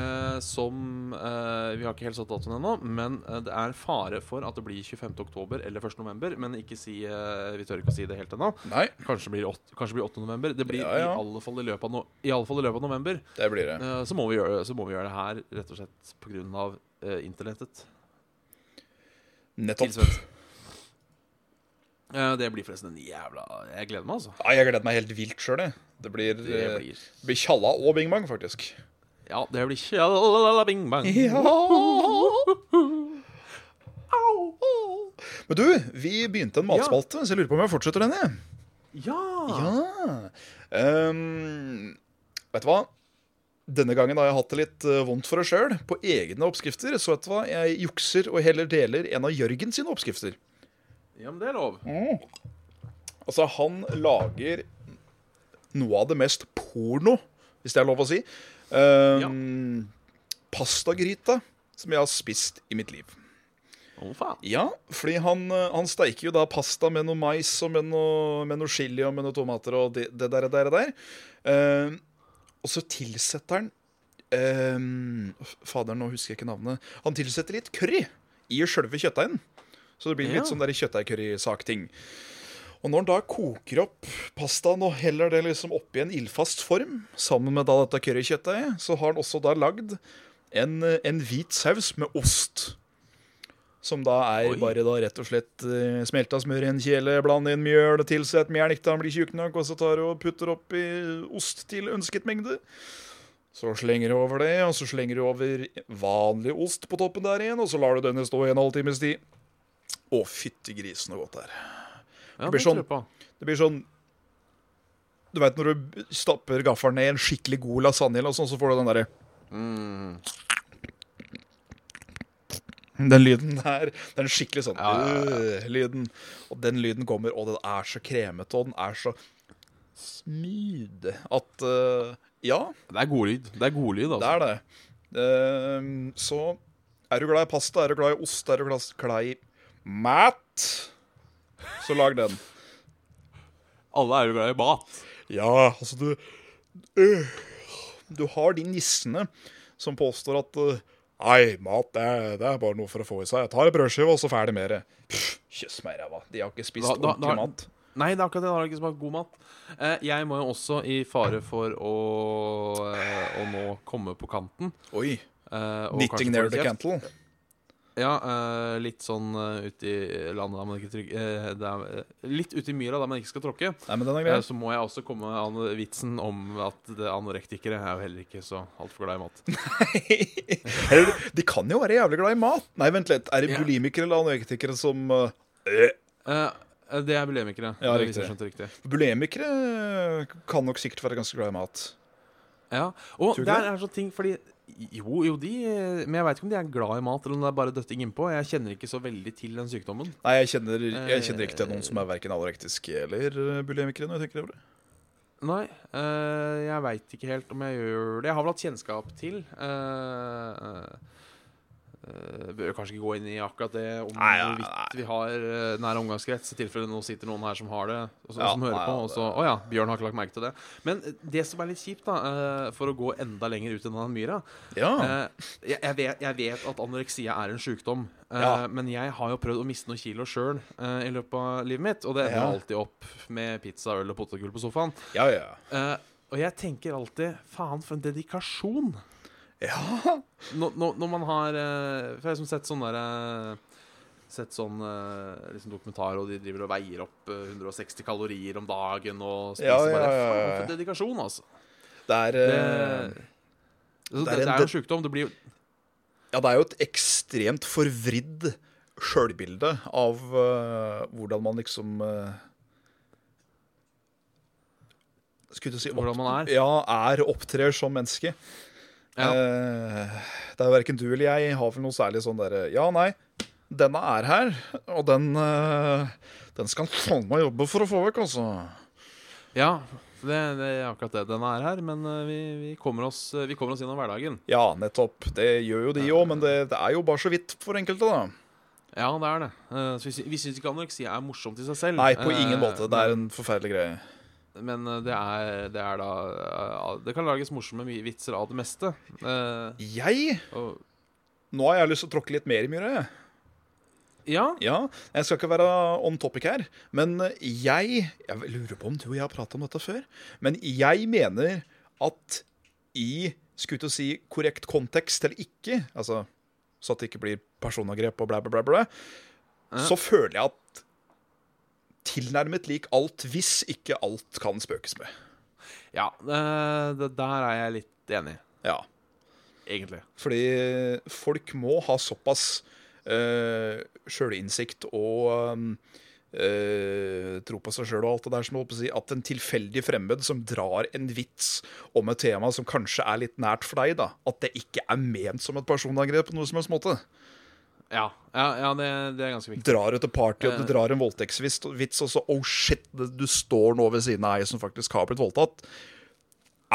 [SPEAKER 2] eh, som eh, Vi har ikke helt satt datoen ennå, men eh, det er fare for at det blir 25. oktober eller 1. november. Men ikke si, eh, vi tør ikke å si det helt ennå.
[SPEAKER 1] Nei,
[SPEAKER 2] Kanskje blir åt- kanskje blir 8. november. Det blir
[SPEAKER 1] Ja, ja.
[SPEAKER 2] i alle fall i løpet av, no, i alle fall i løpet av november.
[SPEAKER 1] det blir det.
[SPEAKER 2] Eh, Så må vi gjøre, så må vi gjøre det her rett og slett pga. Uh, internettet.
[SPEAKER 1] Nettopp.
[SPEAKER 2] Tilsvett. Eh, det blir forresten en jævla Jeg gleder meg, altså.
[SPEAKER 1] Nei, jeg gleder meg helt vilt sjøl, jeg. Det blir,
[SPEAKER 2] Det
[SPEAKER 1] eh,
[SPEAKER 2] blir
[SPEAKER 1] blir tjalla og bing bang, faktisk.
[SPEAKER 2] Ja, det blir tjalala bing bang.
[SPEAKER 1] Men du, vi begynte en matspalte, så jeg lurer på om jeg fortsetter den, jeg.
[SPEAKER 2] Ja!
[SPEAKER 1] Ja. Ehm, vet du hva? Denne gangen har jeg hatt det litt eh, vondt for det sjøl, på egne oppskrifter. Så vet du hva? jeg jukser og heller deler en av Jørgen sine oppskrifter.
[SPEAKER 2] ja, men det er lov.
[SPEAKER 1] Altså, han lager noe av det mest porno, hvis det er lov å si. Ehm, Pastagryte som jeg har spist i mitt liv.
[SPEAKER 2] Å, faen.
[SPEAKER 1] Ja, fordi han, eh, han steiker jo da pasta med noe mais og med noe, med noe chili og med noe tomater og det, det der og der. Og, der. Eh, og så tilsetter han eh, f- Fader, nå husker jeg ikke navnet. Han tilsetter litt curry i sjølve kjøttdeigen. Så det blir
[SPEAKER 2] Ja.
[SPEAKER 1] litt sånn der kjøttdeigcurry-sak-ting. Og når en da koker opp pastaen og heller det liksom opp i en ildfast form, sammen med da dette currykjøttdeiget, så har han også da lagd en, eh, en hvit saus med ost. Som da er
[SPEAKER 2] Oi.
[SPEAKER 1] bare da rett og slett eh, smelta smør i en kjele, blande inn mjøl, tilsett melk til han blir tjukk nok, og så tar du og putter oppi ost til ønsket mengde. Så slenger du over det, og så slenger du over vanlig ost på toppen der igjen, og så lar du denne stå i en halvtimes tid. Å, fytti grisen så godt det er.
[SPEAKER 2] Ja,
[SPEAKER 1] Det blir
[SPEAKER 2] det tror
[SPEAKER 1] sånn-
[SPEAKER 2] jeg på.
[SPEAKER 1] Det blir sånn Du veit når du stapper gaffelen ned i en skikkelig god lasagne, eller noe sånt, så får du den derre
[SPEAKER 2] Mm.
[SPEAKER 1] Den lyden der. Den skikkelig sånn
[SPEAKER 2] Ja, ja, ja,
[SPEAKER 1] øh, lyden. Og den lyden kommer, og den er så kremete, og den er så smooth at øh, Ja,
[SPEAKER 2] Det er god lyd. Det er god lyd,
[SPEAKER 1] det
[SPEAKER 2] altså.
[SPEAKER 1] er det. Ehm, så er du glad i pasta, er du glad i ost, er du glad glad i mat, så lag den.
[SPEAKER 2] Alle er jo glad i mat.
[SPEAKER 1] Ja, altså du øh, Du har de nissene som påstår at øh, Nei, mat det er, det er bare noe for å få i seg. Jeg tar en brødskive, og så ferdig med det. Pff, Kjøss meg i ræva. De har ikke spist
[SPEAKER 2] Da- da- da-
[SPEAKER 1] ordentlig mat.
[SPEAKER 2] Nei, det er akkurat det. Det har ikke smakt god mat. Eh, jeg må jo også i fare for å, eh, å nå komme på kanten.
[SPEAKER 1] Oi.
[SPEAKER 2] eh, og kanskje få
[SPEAKER 1] Knitting near
[SPEAKER 2] litt
[SPEAKER 1] the
[SPEAKER 2] kjeft.
[SPEAKER 1] cantle.
[SPEAKER 2] Ja, eh, litt sånn eh, ute i landet der man ikke trygg... eh, det er, eh, litt ute i myra der man ikke skal tråkke.
[SPEAKER 1] Nei, men den er grei.
[SPEAKER 2] Eh, så må jeg også komme med an vitsen om at det anorektikere er jo heller ikke så altfor glad i mat.
[SPEAKER 1] Eller, de kan jo være jævlig glad i mat. Nei, vent litt. Er det
[SPEAKER 2] Ja.
[SPEAKER 1] bulimikere eller anorektikere som øh,
[SPEAKER 2] Eh, det er bulimikere.
[SPEAKER 1] Ja,
[SPEAKER 2] hvis jeg
[SPEAKER 1] riktig.
[SPEAKER 2] skjønte riktig.
[SPEAKER 1] Bulimikere øh, kan nok sikkert være ganske glad i mat.
[SPEAKER 2] Ja, og
[SPEAKER 1] Tror du
[SPEAKER 2] der
[SPEAKER 1] det?
[SPEAKER 2] er sånn ting Fordi jo, jo de eh, Men jeg veit ikke om de er glad i mat, eller om det er bare døtting innpå. Jeg kjenner ikke så veldig til den sykdommen.
[SPEAKER 1] Nei, jeg kjenner, jeg kjenner ikke til noen som
[SPEAKER 2] Eh.
[SPEAKER 1] er verken anorektiske eller øh, bulimikere. når jeg tenker over det.
[SPEAKER 2] Nei, eh, jeg veit ikke helt om jeg gjør det. Jeg har vel hatt kjennskap til eh, eh, Bør kanskje ikke gå inn i akkurat det om
[SPEAKER 1] Nei, nei, nei.
[SPEAKER 2] hvorvidt vi har eh, nær omgangskrets, i tilfelle nå sitter noen her som har det, og så,
[SPEAKER 1] Ja,
[SPEAKER 2] som hører
[SPEAKER 1] nei,
[SPEAKER 2] på,
[SPEAKER 1] ja,
[SPEAKER 2] og så Å ja, Bjørn har ikke lagt merke til det. Men eh, det som er litt kjipt, da, eh, for å gå enda lenger ut enn den myra,
[SPEAKER 1] Ja.
[SPEAKER 2] Eh, jeg, jeg, vet, jeg vet at anoreksia er en sjukdom, eh,
[SPEAKER 1] Ja.
[SPEAKER 2] men jeg har jo prøvd å miste noen kilo sjøl eh, i løpet av livet mitt, og det ender
[SPEAKER 1] Ja.
[SPEAKER 2] alltid opp med pizza, øl og potetgull på sofaen.
[SPEAKER 1] ja, ja.
[SPEAKER 2] Eh, og jeg tenker alltid faen, for en dedikasjon!
[SPEAKER 1] Ja.
[SPEAKER 2] Når, når, når man har eh, For jeg har liksom sett sånn derre Sett sånn eh, liksom dokumentar, og de driver og veier opp eh, 160 kalorier om dagen og spiser
[SPEAKER 1] Ja, ja,
[SPEAKER 2] bare
[SPEAKER 1] ja, ja,
[SPEAKER 2] Faen,
[SPEAKER 1] ja.
[SPEAKER 2] for en dedikasjon, altså!
[SPEAKER 1] Det er,
[SPEAKER 2] Det,
[SPEAKER 1] eh,
[SPEAKER 2] det, det
[SPEAKER 1] det er en
[SPEAKER 2] er
[SPEAKER 1] de-
[SPEAKER 2] jo en sjukdom. Det blir jo
[SPEAKER 1] ja, det er jo et ekstremt forvridd sjølbilde av eh, hvordan man liksom eh, Skulle du si opp-
[SPEAKER 2] Hvordan man er.
[SPEAKER 1] Ja, er, opptrer som menneske.
[SPEAKER 2] Ja.
[SPEAKER 1] Eh, det er verken du eller jeg har vel noe særlig sånn derre Ja, nei, denne er her, og den eh, Den skal faen meg jobbe for å få vekk, altså.
[SPEAKER 2] Ja, det, det er akkurat det den er her, men eh, vi, vi, kommer oss, eh, vi kommer oss gjennom hverdagen.
[SPEAKER 1] Ja, nettopp. Det gjør jo de òg, men det, det er jo bare så vidt for enkelte, da.
[SPEAKER 2] Ja, det er det. Eh, Så vi, sy- vi syns ikke anoreksi er morsomt i seg selv.
[SPEAKER 1] Nei, på
[SPEAKER 2] Eh,
[SPEAKER 1] ingen måte. Det er en forferdelig greie.
[SPEAKER 2] Men men, eh, det er, det er da eh, Det kan lages morsomme mye vitser av det meste. Eh,
[SPEAKER 1] Jeg
[SPEAKER 2] og,
[SPEAKER 1] Nå har jeg lyst til å tråkke litt mer i myra. jeg.
[SPEAKER 2] ja,
[SPEAKER 1] Ja, jeg skal ikke være on topic her, men jeg Jeg lurer på om du og jeg har prata om dette før, men jeg mener at i skulle til å si korrekt kontekst eller ikke, altså så at det ikke blir personangrep og blæ, blæ, blæ, blæ, så føler jeg at tilnærmet lik alt hvis ikke alt kan spøkes med.
[SPEAKER 2] ja eh, det, der er jeg litt enig,
[SPEAKER 1] Ja.
[SPEAKER 2] egentlig.
[SPEAKER 1] Fordi folk må ha såpass uh, sjølinnsikt og eh, tro på seg sjøl og alt det der, som jeg holdt på å si, at en tilfeldig fremmed som drar en vits om et tema som kanskje er litt nært for deg, da, at det ikke er ment som et personangrep på noe som helst måte.
[SPEAKER 2] Ja, ja, ja det, det er ganske viktig.
[SPEAKER 1] Drar du til party og
[SPEAKER 2] Eh.
[SPEAKER 1] du drar en voldtektsvits, vits, og så oh shit, det- du står nå ved siden av ei som faktisk har blitt voldtatt.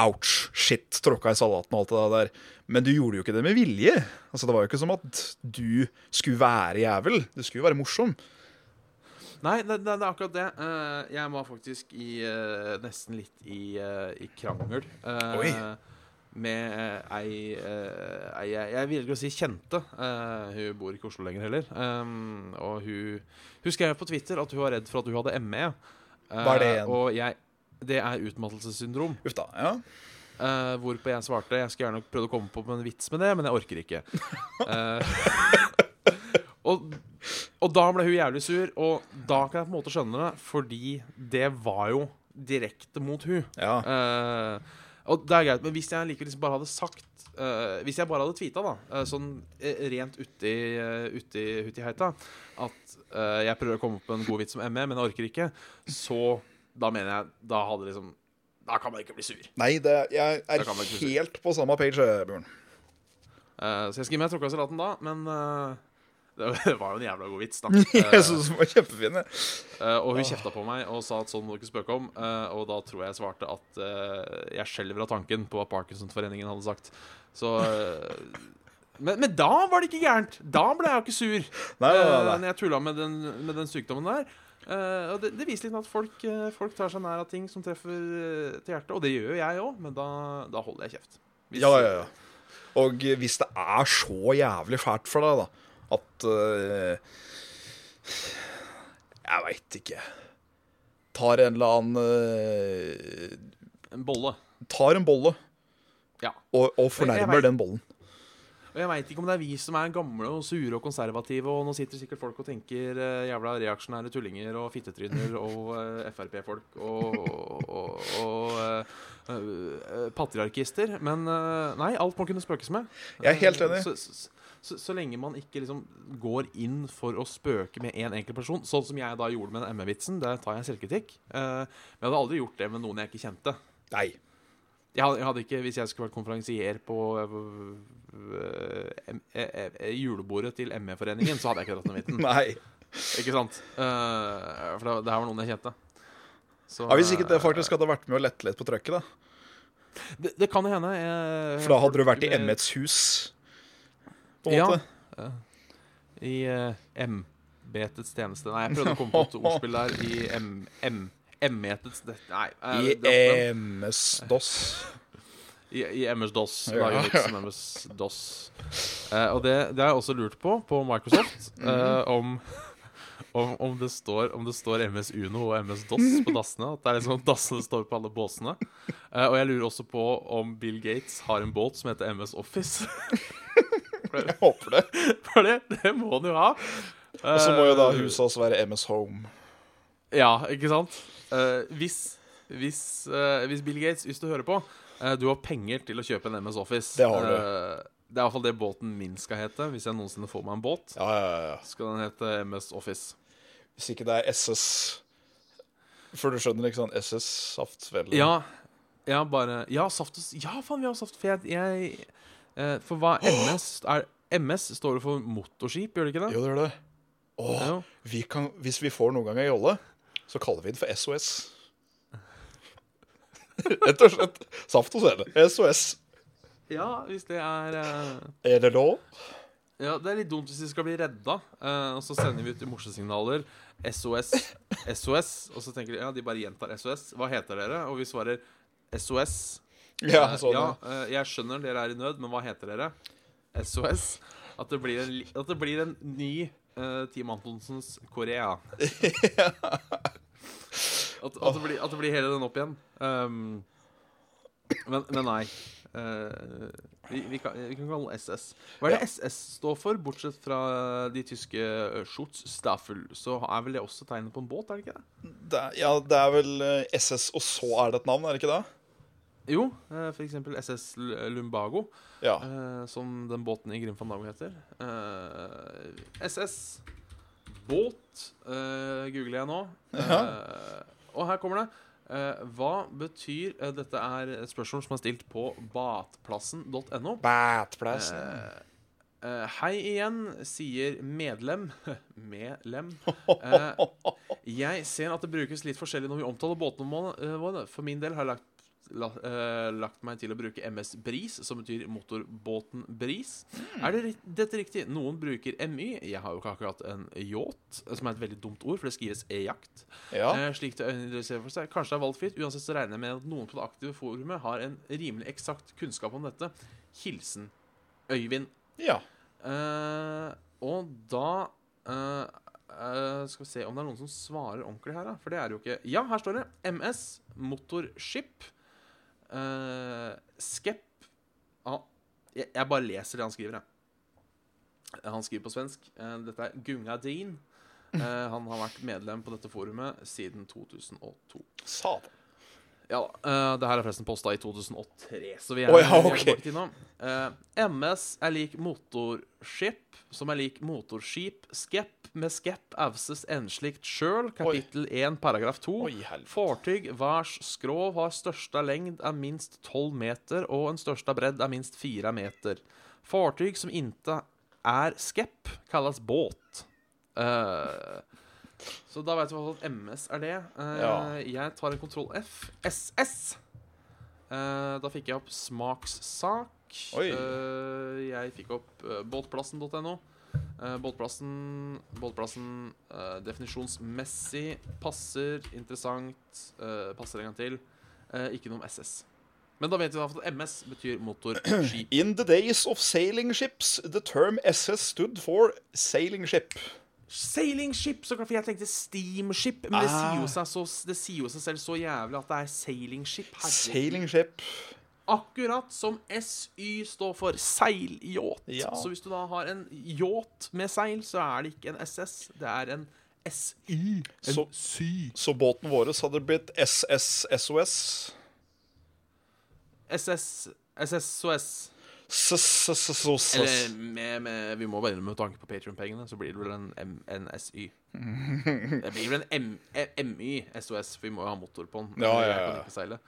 [SPEAKER 1] Ouch, shit, tråkka i salaten og alt det der. Men du gjorde jo ikke det med vilje. Altså, Det var jo ikke som at du skulle være jævel. Du skulle jo være morsom.
[SPEAKER 2] Nei, det, det, det er akkurat det. Eh, jeg var faktisk i eh, nesten litt i, eh, i krangel. Eh,
[SPEAKER 1] Oi.
[SPEAKER 2] med eh, ei, eh, ei jeg, jeg vil ikke si kjente. Eh, hun bor ikke i Oslo lenger heller. Um, og hun, hun skrev på Twitter at hun var redd for at hun hadde ME. Eh,
[SPEAKER 1] Hva er det igjen?
[SPEAKER 2] Og jeg, det er utmattelsessyndrom.
[SPEAKER 1] Uff da. Ja.
[SPEAKER 2] Eh, hvorpå jeg svarte Jeg skulle gjerne prøvd å komme på en vits med det, men jeg orker ikke. Eh, og, og da ble hun jævlig sur, og da kan jeg på en måte skjønne det, fordi det var jo direkte mot hun.
[SPEAKER 1] ja.
[SPEAKER 2] Eh, og det er greit, men hvis jeg likevel liksom bare hadde sagt eh, Hvis jeg bare hadde tweeta, da, eh, sånn eh, rent uti, uh, uti, uti heita, at eh, jeg prøver å komme opp med en god vits om ME, men jeg orker ikke, så da mener jeg Da hadde liksom Da kan man ikke bli sur.
[SPEAKER 1] Nei, det, jeg er
[SPEAKER 2] Da kan man ikke si.
[SPEAKER 1] helt på samme page, eh, Bjørn.
[SPEAKER 2] Eh, så jeg skrev meg tråkka i salaten da, men eh, [LAUGHS] det var jo en jævla god vits, da.
[SPEAKER 1] [LAUGHS] Jeg syns den var kjempefin. jeg.
[SPEAKER 2] Eh, og hun kjefta på meg og sa at sånn må du ikke spøke om. eh, og da tror jeg jeg svarte at eh, jeg skjelver av tanken på hva Parkinsonforeningen hadde sagt. Så eh, men, men da var det ikke gærent! Da ble jeg jo ikke sur.
[SPEAKER 1] Nei, nei, nei,
[SPEAKER 2] eh,
[SPEAKER 1] nei.
[SPEAKER 2] når jeg tulla med den, med den sykdommen der. Eh, og det, det viser litt at folk, eh, folk tar seg nær av ting som treffer eh, til hjertet. Og det gjør jo jeg òg, men da, da holder jeg kjeft. Hvis-
[SPEAKER 1] Ja, ja, ja. Og hvis det er så jævlig fælt for deg, da, at eh, Jeg veit ikke. Tar en eller annen eh,
[SPEAKER 2] En bolle.
[SPEAKER 1] Tar en bolle
[SPEAKER 2] Ja.
[SPEAKER 1] og, og
[SPEAKER 2] Jeg vet-
[SPEAKER 1] fornærmer den bollen.
[SPEAKER 2] Og jeg veit ikke om det er vi som er gamle og sure og konservative, og nå sitter sikkert folk og tenker eh, jævla reaksjonære tullinger og fittetryner og eh, Frp-folk og, og, og eh, eh, patriarkister. Men eh, nei, alt må kunne spøkes med.
[SPEAKER 1] Jeg er helt enig.
[SPEAKER 2] Eh, Så, så, så, så lenge man ikke liksom går inn for å spøke med én enkelt person, sånn som jeg da gjorde med den ME-vitsen, der tar jeg selvkritikk. Eh, Men jeg hadde aldri gjort det med noen jeg ikke kjente.
[SPEAKER 1] Nei.
[SPEAKER 2] Jeg hadde, jeg hadde ikke, Hvis jeg skulle vært konferansier på øh, em- eh, eh, julebordet til ME-foreningen, så hadde jeg ikke dratt den viten.
[SPEAKER 1] [LAUGHS] Nei.
[SPEAKER 2] Ikke sant? Eh, for det, det her var noen jeg kjente. Så,
[SPEAKER 1] Ja, hvis ikke det
[SPEAKER 2] eh,
[SPEAKER 1] faktisk hadde vært med å lette litt på trøkket, da.
[SPEAKER 2] Det, det kan jo hende. eh,
[SPEAKER 1] For da hadde du vært i E
[SPEAKER 2] eh,
[SPEAKER 1] ME-ets hus, på en
[SPEAKER 2] Ja.
[SPEAKER 1] måte.
[SPEAKER 2] I eh, embetets tjeneste. Nei, jeg prøvde å komme på
[SPEAKER 1] [LAUGHS]
[SPEAKER 2] et ordspill der. I m... m M-etets Nei. eh,
[SPEAKER 1] I
[SPEAKER 2] dropp den.
[SPEAKER 1] MS-DOS.
[SPEAKER 2] I, i MS-DOS.
[SPEAKER 1] Ja.
[SPEAKER 2] Ja. MS-DOS. Eh, og det, det har jeg også lurt på på Microsoft.
[SPEAKER 1] Mhm.
[SPEAKER 2] eh, om, [LAUGHS] om, om, det står, om det står MS Uno og MS DOS på dassene. At det er liksom at dassene står på alle båsene. Eh, og jeg lurer også på om Bill Gates har en båt som heter MS Office. [LAUGHS]
[SPEAKER 1] Jeg håper det.
[SPEAKER 2] For det, det må han jo ha. Eh,
[SPEAKER 1] Og så må jo da huset hans være MS Home.
[SPEAKER 2] Ja, ikke sant? Eh, hvis, hvis, eh, hvis Bill Gates, hvis du hører på, eh, du har penger til å kjøpe en MS Office.
[SPEAKER 1] Det har du.
[SPEAKER 2] Eh, det er iallfall det båten min skal hete, hvis jeg noensinne får meg en båt.
[SPEAKER 1] Ja, ja, ja, ja.
[SPEAKER 2] Skal den hete MS Office.
[SPEAKER 1] Hvis ikke det er SS For du skjønner ikke sånn SS-saft, vel?
[SPEAKER 2] Ja, ja bare Ja, Saftus. Ja, faen, vi har Saft. For jeg, jeg eh, For hva MS er MS står jo for motorskip, gjør det ikke det?
[SPEAKER 1] Jo, det gjør det. Åh,
[SPEAKER 2] Jo.
[SPEAKER 1] vi kan, hvis vi får noen gang ei jolle, så kaller vi den for SOS. [LAUGHS] Rett og slett. Saft og svele. SOS.
[SPEAKER 2] Ja, hvis det er eh,
[SPEAKER 1] Er det lov?
[SPEAKER 2] Ja, Det er litt dumt hvis de skal bli redda, eh, og så sender vi ut morsesignaler. SOS, SOS. Og så tenker de ja, de bare gjentar SOS. Hva heter dere? Og vi svarer SOS.
[SPEAKER 1] Ja,
[SPEAKER 2] Eh,
[SPEAKER 1] sånn.
[SPEAKER 2] ja,
[SPEAKER 1] Ja.
[SPEAKER 2] eh, jeg skjønner dere er i nød, men hva heter dere? SOS. At det blir en, li- at det blir en ny eh, Team Antonsens Korea. At, at, det blir, at det blir hele den opp igjen. Um, men, men nei. Eh, vi, vi, kan, vi kan kalle den SS. Hva er det SS står for, bortsett fra de tyske eh, Schutzstaffel? Så er vel det også tegnet på en båt, er det ikke det?
[SPEAKER 1] Det, er- ja, det er vel eh, SS, og så er det et navn, er det ikke det?
[SPEAKER 2] Jo, eh, for eksempel SS Lumbago.
[SPEAKER 1] Ja.
[SPEAKER 2] Eh, som den båten i Grim van Dago heter. Eh, SS Båt eh, googler jeg nå. Eh, og her kommer det. Eh, hva betyr eh, Dette er et spørsmål som er stilt på batplassen.no.
[SPEAKER 1] Batplass. [LAUGHS]
[SPEAKER 2] Eh, hei igjen, sier medlem. [LAUGHS] medlem. Eh, jeg ser at det brukes litt forskjellig når vi omtaler båtene våre. For eh, min del har jeg lagt la, eh, lagt meg til å bruke MS Bris, som betyr motorbåten Bris. Er det, ri- dette riktig? Noen bruker MY. Jeg har jo ikke akkurat en yacht, som er et veldig dumt ord, for det skrives e-jakt.
[SPEAKER 1] Ja.
[SPEAKER 2] Eh, slik det øyneidentifiserer for seg. Kanskje det er valgfritt. Uansett så regner jeg med at noen på det aktive forumet har en rimelig eksakt kunnskap om dette. Hilsen Øyvind.
[SPEAKER 1] ja.
[SPEAKER 2] Eh, og da eh, eh, Skal vi se om det er noen som svarer ordentlig her, da. For det er det jo ikke. Ja, her står det. MS Motorship. Uh, Skep ah, jeg, jeg bare leser det han skriver, jeg. Han skriver på svensk. Eh, dette er Gunga Dean. Eh, han har vært medlem på dette forumet siden 2002.
[SPEAKER 1] Satan.
[SPEAKER 2] Ja da. eh, det her er forresten posta i 2003, så vi er,
[SPEAKER 1] Å ja,
[SPEAKER 2] vi er
[SPEAKER 1] ok.
[SPEAKER 2] tilbake til nå. Eh, MS er lik motorskip, som er lik motorskip. Skep med skep avses enslikt sjøl, kapittel 1, paragraf 2.
[SPEAKER 1] Oi, helvete.
[SPEAKER 2] Fartyg værs skrov har størsta lengd er minst 12 meter, og en størsta bredd er minst 4 meter. Fartyg som inte er skep, kalles båt. Eh, så da vet vi i hvert fall at MS er det. Eh,
[SPEAKER 1] Ja.
[SPEAKER 2] Jeg tar en kontroll F. SS. Eh, da fikk jeg opp smakssak.
[SPEAKER 1] Oi.
[SPEAKER 2] Eh, jeg fikk opp eh, båtplassen.no. Eh, båtplassen båtplassen eh, definisjonsmessig passer, interessant, eh, passer en gang til. Eh, ikke noe om SS. Men da vet vi i hvert fall at MS betyr motorskip.
[SPEAKER 1] In the days of sailing ships, the term SS stood for sailing ship.
[SPEAKER 2] Sailing ship, så klart, for jeg tenkte steamship. Men det
[SPEAKER 1] Ah.
[SPEAKER 2] sier, jo seg så, det sier jo seg selv så jævlig at det er sailing ship. Herregud.
[SPEAKER 1] Sailing ship.
[SPEAKER 2] Akkurat som SY står for seilyacht.
[SPEAKER 1] Ja.
[SPEAKER 2] Så hvis du da har en yacht med seil, så er det ikke en SS, det er en SY. En
[SPEAKER 1] Så-
[SPEAKER 2] sy.
[SPEAKER 1] Så båten vår hadde blitt SSSOS.
[SPEAKER 2] SS, SSOS.
[SPEAKER 1] SSSOS.
[SPEAKER 2] Eller med, med, vi må bare med tanke på Patrion-pengene, så blir det vel en, M, en
[SPEAKER 1] [LAUGHS]
[SPEAKER 2] SY. Det blir vel en M, E- MY SOS, for vi må jo ha motor på den.
[SPEAKER 1] Ja, ja,
[SPEAKER 2] Jeg kan
[SPEAKER 1] ja.
[SPEAKER 2] ikke seile.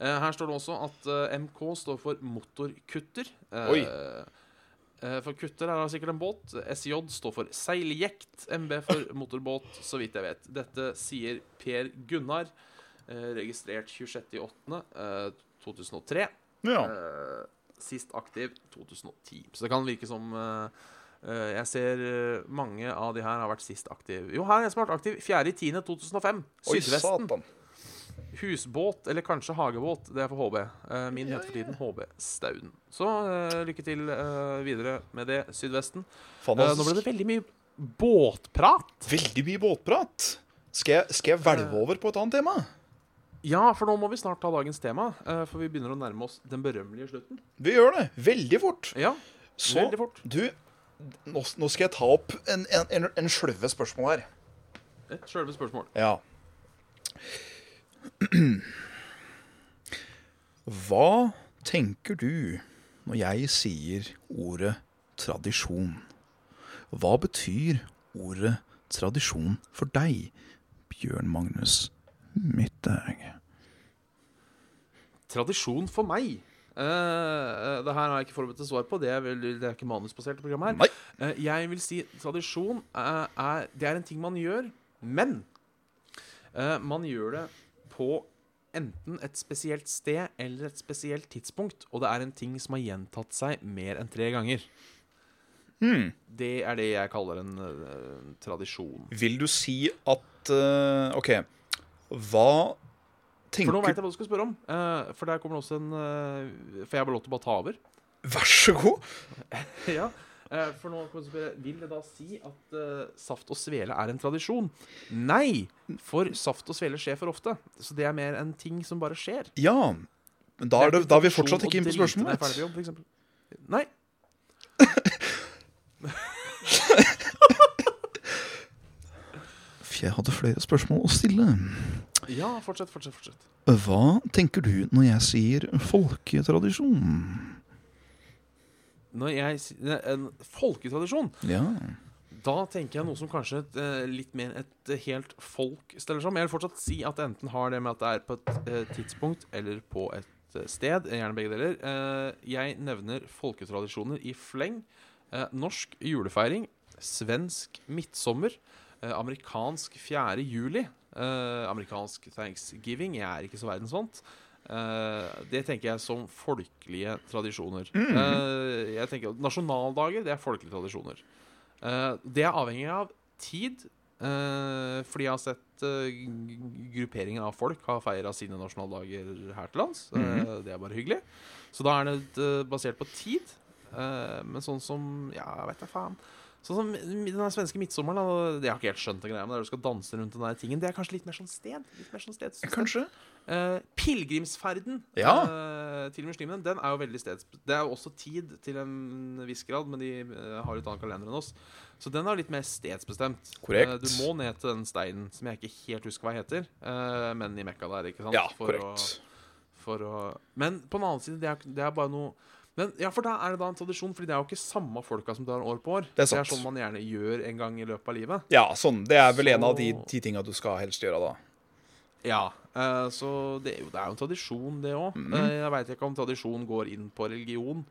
[SPEAKER 2] Eh, Her står det også at eh, MK står for motorkutter. Eh,
[SPEAKER 1] Oi.
[SPEAKER 2] eh, For kutter er da sikkert en båt. SJ står for seiljekt. MB
[SPEAKER 1] [LAUGHS]
[SPEAKER 2] for motorbåt, så vidt jeg vet. Dette sier Per Gunnar, eh, registrert eh, 26.8.2003.
[SPEAKER 1] Ja.
[SPEAKER 2] Eh, sist aktiv 2010. Så det kan virke som eh, eh, Jeg ser eh, mange av de her har vært sist aktiv. Jo, her er en som har vært aktiv 4.10.2005.
[SPEAKER 1] Oi,
[SPEAKER 2] Sydvesten.
[SPEAKER 1] satan.
[SPEAKER 2] Husbåt, eller kanskje hagebåt. Det er for HB. Eh, min heter for tiden HB Stauden. Så eh, lykke til eh, videre med det, Sydvesten. Eh, nå ble det
[SPEAKER 1] Fantastisk.
[SPEAKER 2] veldig mye båtprat.
[SPEAKER 1] altså, Veldig mye båtprat. Skal jeg, skal jeg hvelve over på et annet tema?
[SPEAKER 2] Ja, for nå må vi snart ta dagens tema, eh, for vi begynner å nærme oss den berømmelige slutten.
[SPEAKER 1] Vi gjør det. Veldig fort.
[SPEAKER 2] Ja,
[SPEAKER 1] Så
[SPEAKER 2] veldig fort.
[SPEAKER 1] du, nå, nå skal jeg ta opp en, en, en, en sløve spørsmål her.
[SPEAKER 2] Et sjølve spørsmål.
[SPEAKER 1] Ja. Hva tenker du når jeg sier ordet tradisjon? Hva betyr ordet tradisjon for deg, Bjørn Magnus Midthaug?
[SPEAKER 2] Tradisjon for meg. Eh, eh, det her har jeg ikke forberedt et svar på. Det er, vel, det er ikke manusbasert. det programmet her
[SPEAKER 1] Nei.
[SPEAKER 2] Eh, Jeg vil si tradisjon eh, er, Det er en ting man gjør, men eh, man gjør det på enten et spesielt sted eller et spesielt tidspunkt, og det er en ting som har gjentatt seg mer enn tre ganger. Det er det jeg kaller en eh, tradisjon.
[SPEAKER 1] Vil du si at eh, OK. Hva
[SPEAKER 2] For nå
[SPEAKER 1] tenker
[SPEAKER 2] veit jeg hva du skal spørre om. eh, for der kommer det også en eh, For jeg har bare lov til å bare ta over.
[SPEAKER 1] Vær så god.
[SPEAKER 2] [LAUGHS] ja. eh, For nå kan du spørre, vil det da si at eh, saft og svele er en tradisjon? Nei, for saft og svele skjer for ofte. Så det er mer en ting som bare skjer.
[SPEAKER 1] Ja. Men da er, det, da er vi
[SPEAKER 2] Tradisjon
[SPEAKER 1] fortsatt
[SPEAKER 2] å
[SPEAKER 1] ikke inne på
[SPEAKER 2] drite deg
[SPEAKER 1] spørsmålet.
[SPEAKER 2] ferdig på jobb, for eksempel. Nei.
[SPEAKER 1] For jeg hadde flere spørsmål å stille.
[SPEAKER 2] Ja, fortsett, fortsett, fortsett.
[SPEAKER 1] Hva tenker du når jeg sier folketradisjon?
[SPEAKER 2] Når jeg s- En folketradisjon.
[SPEAKER 1] Ja.
[SPEAKER 2] Da tenker jeg noe som kanskje et, eh, litt mer et helt folk stiller seg om. Jeg vil fortsatt si at det enten har det med at det er på et eh, tidspunkt eller på et eh, sted. Gjerne begge deler. Eh, Jeg nevner folketradisjoner i fleng. Eh, Norsk julefeiring, svensk midtsommer, eh, amerikansk 4. juli, eh, amerikansk thanksgiving. Jeg er ikke så verdensvant. Eh, det tenker jeg som folkelige tradisjoner. Eh, jeg tenker at Nasjonaldager det er folkelige tradisjoner. Eh, det er avhengig av tid, eh, fordi jeg har sett eh, g- grupperinger av folk har feira sine nasjonaldager her til lands. Eh, det er bare hyggelig. Så da er det eh, basert på tid. Eh, men sånn som Ja, jeg vet da faen. Sånn som den der svenske midtsommeren da, Det har ikke helt skjønt den greia, men der du skal danse rundt den der tingen, det er kanskje litt mer sånn sted. Litt mer sånn sted
[SPEAKER 1] Kanskje.
[SPEAKER 2] Eh, pilegrimsferden
[SPEAKER 1] Ja.
[SPEAKER 2] eh, til muslimene den er jo veldig steds... Det er jo også tid til en viss grad, men de eh, har et annet kalender enn oss. Så den er litt mer stedsbestemt.
[SPEAKER 1] Korrekt.
[SPEAKER 2] Eh, du må ned til den steinen som jeg ikke helt husker hva heter, eh, men i Mekka der, ikke sant?
[SPEAKER 1] Ja,
[SPEAKER 2] For å-
[SPEAKER 1] korrekt.
[SPEAKER 2] for å Men på den annen side, det er, det er bare noe men, ja, for da er det da en tradisjon, Fordi det er jo ikke samme folka som drar år på år.
[SPEAKER 1] Det er sant.
[SPEAKER 2] sånn man gjerne gjør en gang i løpet av livet.
[SPEAKER 1] Ja, sånn. Det er vel en av de
[SPEAKER 2] Så-
[SPEAKER 1] ti tinga du skal helst gjøre da.
[SPEAKER 2] Ja, eh, så det er, jo, det er jo en tradisjon, det òg.
[SPEAKER 1] Mm.
[SPEAKER 2] jeg veit ikke om tradisjon går inn på religion.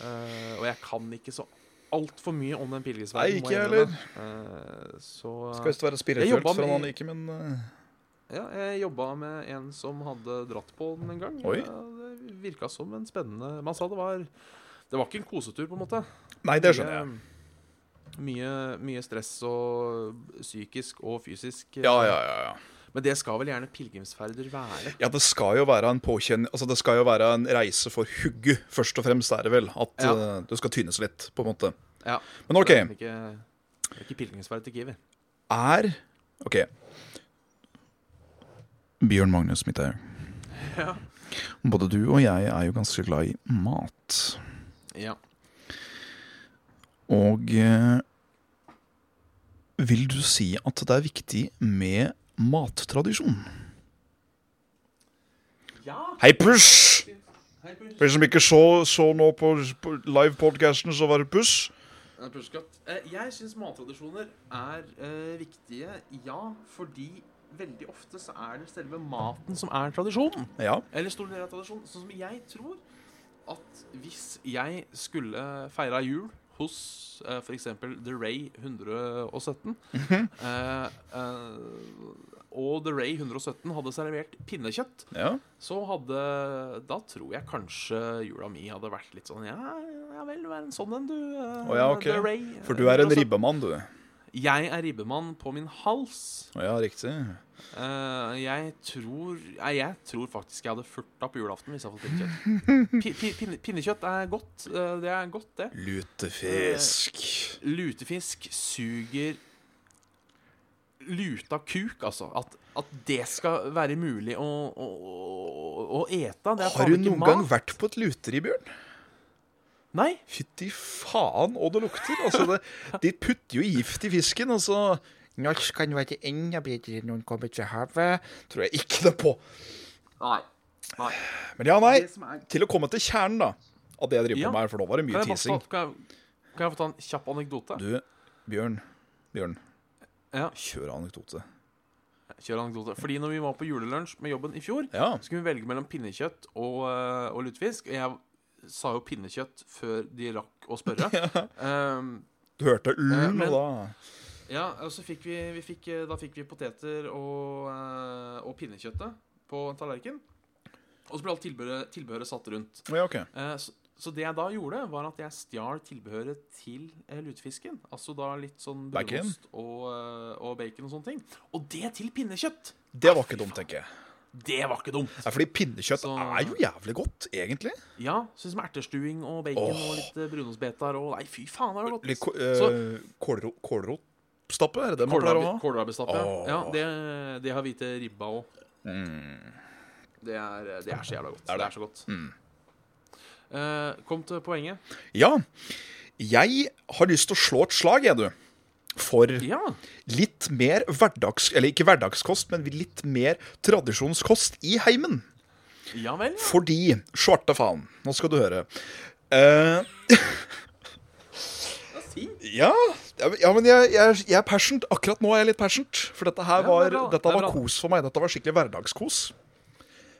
[SPEAKER 2] Eh, og jeg kan ikke så altfor mye om den
[SPEAKER 1] Nei,
[SPEAKER 2] pilegrimsverdenen. må
[SPEAKER 1] ikke jeg
[SPEAKER 2] innrømme. Eh, så
[SPEAKER 1] Skal visst være
[SPEAKER 2] Jeg
[SPEAKER 1] spirituelt
[SPEAKER 2] jobba
[SPEAKER 1] for
[SPEAKER 2] med-
[SPEAKER 1] han ikke, men eh,
[SPEAKER 2] ja, jeg jobba med en som hadde dratt på den en gang.
[SPEAKER 1] Oi.
[SPEAKER 2] Eh, Det virka som en spennende Man sa det var Det var ikke en kosetur, på en måte.
[SPEAKER 1] Nei, det skjønner jeg.
[SPEAKER 2] Mye, mye stress og psykisk og fysisk.
[SPEAKER 1] Ja, ja, ja, ja.
[SPEAKER 2] Men det skal vel gjerne pilegrimsferder være.
[SPEAKER 1] Ja, det skal jo være en påkjenning Altså, det skal jo være en reise for hugget, først og fremst, er det vel. At
[SPEAKER 2] Ja.
[SPEAKER 1] eh, du skal tynes litt, på en måte.
[SPEAKER 2] Ja.
[SPEAKER 1] Men OK.
[SPEAKER 2] Det er ikke, det er ikke pilegrimsferd til Kiwi.
[SPEAKER 1] Er OK. Bjørn Magnus Midthaug.
[SPEAKER 2] Ja.
[SPEAKER 1] Både du og jeg er jo ganske glad i mat.
[SPEAKER 2] Ja.
[SPEAKER 1] Og eh, vil du si at det er viktig med mattradisjon? Hei, puss! For de som ikke så, så nå på, på livepodkasten, så var det puss.
[SPEAKER 2] Nei, pusekatt. Eh, Jeg syns mattradisjoner er eh, viktige, ja, fordi veldig ofte så er det selve maten som er tradisjonen.
[SPEAKER 1] Ja.
[SPEAKER 2] Eller stor del av tradisjonen. Sånn som jeg tror at hvis jeg skulle feira jul hos eh, for f.eks. The Ray 117
[SPEAKER 1] Mhm.
[SPEAKER 2] eh, eh, Og The Ray 117 hadde servert pinnekjøtt
[SPEAKER 1] ja.
[SPEAKER 2] så hadde Da tror jeg kanskje jula mi hadde vært litt sånn Ja, ja vel, du er en sånn en, du. eh,
[SPEAKER 1] Å ja, ok.
[SPEAKER 2] The Ray.
[SPEAKER 1] For du er en
[SPEAKER 2] Altså,
[SPEAKER 1] ribbemann, du.
[SPEAKER 2] Jeg er ribbemann på min hals.
[SPEAKER 1] Å ja, riktig.
[SPEAKER 2] Eh, jeg tror Nei, jeg tror faktisk jeg hadde furta på julaften hvis jeg hadde fått pinnekjøtt.
[SPEAKER 1] [LAUGHS]
[SPEAKER 2] Pi- pi- pinne- Pinnekjøtt er godt. eh, det er godt, det.
[SPEAKER 1] Lutefisk.
[SPEAKER 2] Lutefisk suger luta kuk, altså. At, at det skal være mulig å, å, å, å ete. Det er
[SPEAKER 1] Har
[SPEAKER 2] faen
[SPEAKER 1] du
[SPEAKER 2] ikke
[SPEAKER 1] noen
[SPEAKER 2] mat.
[SPEAKER 1] gang vært på et luteri, Bjørn?
[SPEAKER 2] Nei.
[SPEAKER 1] Fytti faen, og det lukter. Altså, det, de putter jo gift i fisken, og så
[SPEAKER 3] Norsk kan være enda bedre når den kommer til havet.
[SPEAKER 1] tror jeg ikke det på.
[SPEAKER 2] Nei. Nei.
[SPEAKER 1] Men ja, nei.
[SPEAKER 2] Det som er-
[SPEAKER 1] Til å komme til kjernen, da. Av det jeg driver
[SPEAKER 2] Ja.
[SPEAKER 1] på med her, for nå var det
[SPEAKER 2] Kan
[SPEAKER 1] mye
[SPEAKER 2] jeg, bare
[SPEAKER 1] teasing.
[SPEAKER 2] få, kan, jeg, kan jeg få ta en kjapp anekdote?
[SPEAKER 1] Du, Bjørn. Bjørn,
[SPEAKER 2] Ja,
[SPEAKER 1] kjør anekdote.
[SPEAKER 2] kjør anekdote. Fordi når vi var på julelunsj med jobben i fjor,
[SPEAKER 1] Ja.
[SPEAKER 2] så skulle vi velge mellom pinnekjøtt og, eh, og lutefisk. Og jeg sa jo pinnekjøtt før de rakk å spørre. Ehm,
[SPEAKER 1] Du hørte
[SPEAKER 2] Eh,
[SPEAKER 1] l,
[SPEAKER 2] men-
[SPEAKER 1] og da
[SPEAKER 2] ja, og så fikk vi, vi fikk, eh, Da fikk vi poteter og, eh, og pinnekjøttet på en tallerken. Og så ble alt tilbehøret, tilbehøret satt rundt.
[SPEAKER 1] Å, Ja, OK.
[SPEAKER 2] Eh, Så, så det jeg da gjorde, var at jeg stjal tilbehøret til eh, lutefisken. Altså da litt sånn
[SPEAKER 1] Bacon?
[SPEAKER 2] brunost og, eh, og bacon og sånne ting. Og det til pinnekjøtt!
[SPEAKER 1] Det var ikke dumt, tenker jeg.
[SPEAKER 2] Det var ikke dumt!
[SPEAKER 1] Ja, fordi pinnekjøtt
[SPEAKER 2] Så-
[SPEAKER 1] er jo jævlig godt, egentlig.
[SPEAKER 2] Ja, sånn som ertestuing og bacon
[SPEAKER 1] Åh.
[SPEAKER 2] og litt eh, brunostbetar og Nei, fy faen, det var godt!
[SPEAKER 1] Litt ko-
[SPEAKER 2] Så-
[SPEAKER 1] eh, kålro- Kålrotstappe, er det det man pleier å
[SPEAKER 2] Kålrabi-
[SPEAKER 1] ha?
[SPEAKER 2] Kålrabistappe. ja.
[SPEAKER 1] Åh.
[SPEAKER 2] Ja, det, det har hvite ribba òg. Det, er, eh, det er så jævla godt.
[SPEAKER 1] Mm. det? Mm.
[SPEAKER 2] Det er så godt. Eh, kom til poenget.
[SPEAKER 1] Ja. Jeg har lyst til å slå et slag, jeg, du. For
[SPEAKER 2] Ja!
[SPEAKER 1] litt mer hverdags... Eller ikke hverdagskost, men litt mer tradisjonskost i heimen.
[SPEAKER 2] Ja vel, ja.
[SPEAKER 1] Fordi Svarte faen, nå skal du høre. Eh,
[SPEAKER 2] Si.
[SPEAKER 1] ja, ja, men jeg, jeg, jeg er passionate. Akkurat nå er jeg litt passionate. For dette her
[SPEAKER 2] Ja,
[SPEAKER 1] var,
[SPEAKER 2] det er bra.
[SPEAKER 1] dette
[SPEAKER 2] Det er
[SPEAKER 1] var
[SPEAKER 2] bra.
[SPEAKER 1] kos for meg. Dette var skikkelig hverdagskos.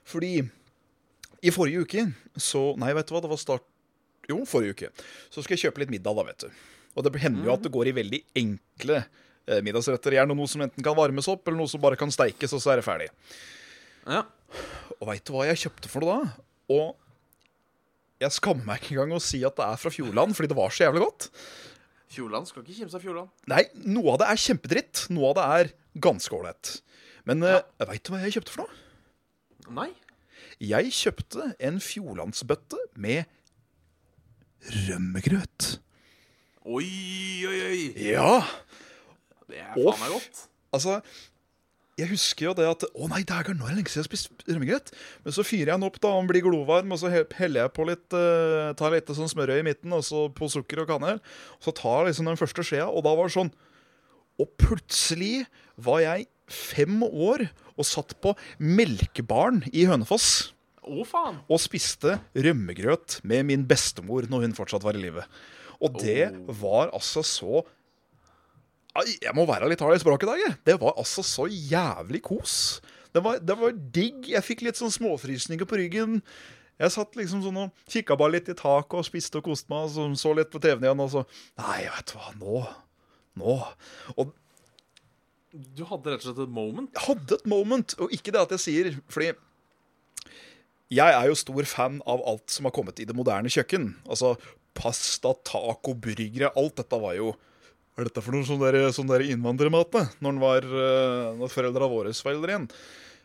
[SPEAKER 1] Fordi i forrige uke så Nei, vet du hva, det var start Jo, forrige uke. Så skal jeg kjøpe litt middag, da, vet du. Og det hender
[SPEAKER 2] Mm.
[SPEAKER 1] jo at det går i veldig enkle eh, middagsretter. Gjerne noe som enten kan varmes opp, eller noe som bare kan steikes, og så er det ferdig.
[SPEAKER 2] Ja.
[SPEAKER 1] Og veit du hva jeg kjøpte for noe da? Og jeg skammer meg ikke engang å si at det er fra Fjordland, fordi det var så jævlig godt.
[SPEAKER 2] Fjordland skal ikke kimse av Fjordland.
[SPEAKER 1] Nei, noe av det er kjempedritt. Noe av det er ganske ålreit. Men ja. veit du hva jeg kjøpte for noe?
[SPEAKER 2] Nei.
[SPEAKER 1] Jeg kjøpte en Fjordlandsbøtte med rømmegrøt.
[SPEAKER 2] Oi, oi, oi.
[SPEAKER 1] Ja,
[SPEAKER 2] Det er
[SPEAKER 1] Å,
[SPEAKER 2] faen meg godt.
[SPEAKER 1] altså Jeg husker jo det at Å nei, dægeren, nå er det lenge siden jeg har spist rømmegrøt. Men så fyrer jeg den opp, da, og den blir glovarm, og så he- heller jeg på litt eh, Tar litt sånn smørøy i midten, og så på sukker og kanel. Og så tar jeg liksom den første skjea, og da var det sånn Og plutselig var jeg fem år og satt på melkebaren i Hønefoss
[SPEAKER 2] Å, faen.
[SPEAKER 1] og spiste rømmegrøt med min bestemor når hun fortsatt var i live. Og det var altså så Ai, Jeg må være litt hard i språket i dag, jeg. Det var altså så jævlig kos. Det var, det var digg. Jeg fikk litt sånn småfrysninger på ryggen. Jeg satt liksom sånn og kikka bare litt i taket og spiste og koste meg, og så, så litt på TV-en igjen, og så Nei, vet du hva, nå Nå. Og
[SPEAKER 2] Du hadde rett og slett et moment.
[SPEAKER 1] hadde et moment, og ikke det at jeg sier Fordi jeg er jo stor fan av alt som har kommet i det moderne kjøkken. Altså pasta, taco, burgere. Alt dette var jo Hva er dette for noe sånn der, sånn der innvandrermat, da? Når, den var, eh, når foreldra våre var eldre igjen.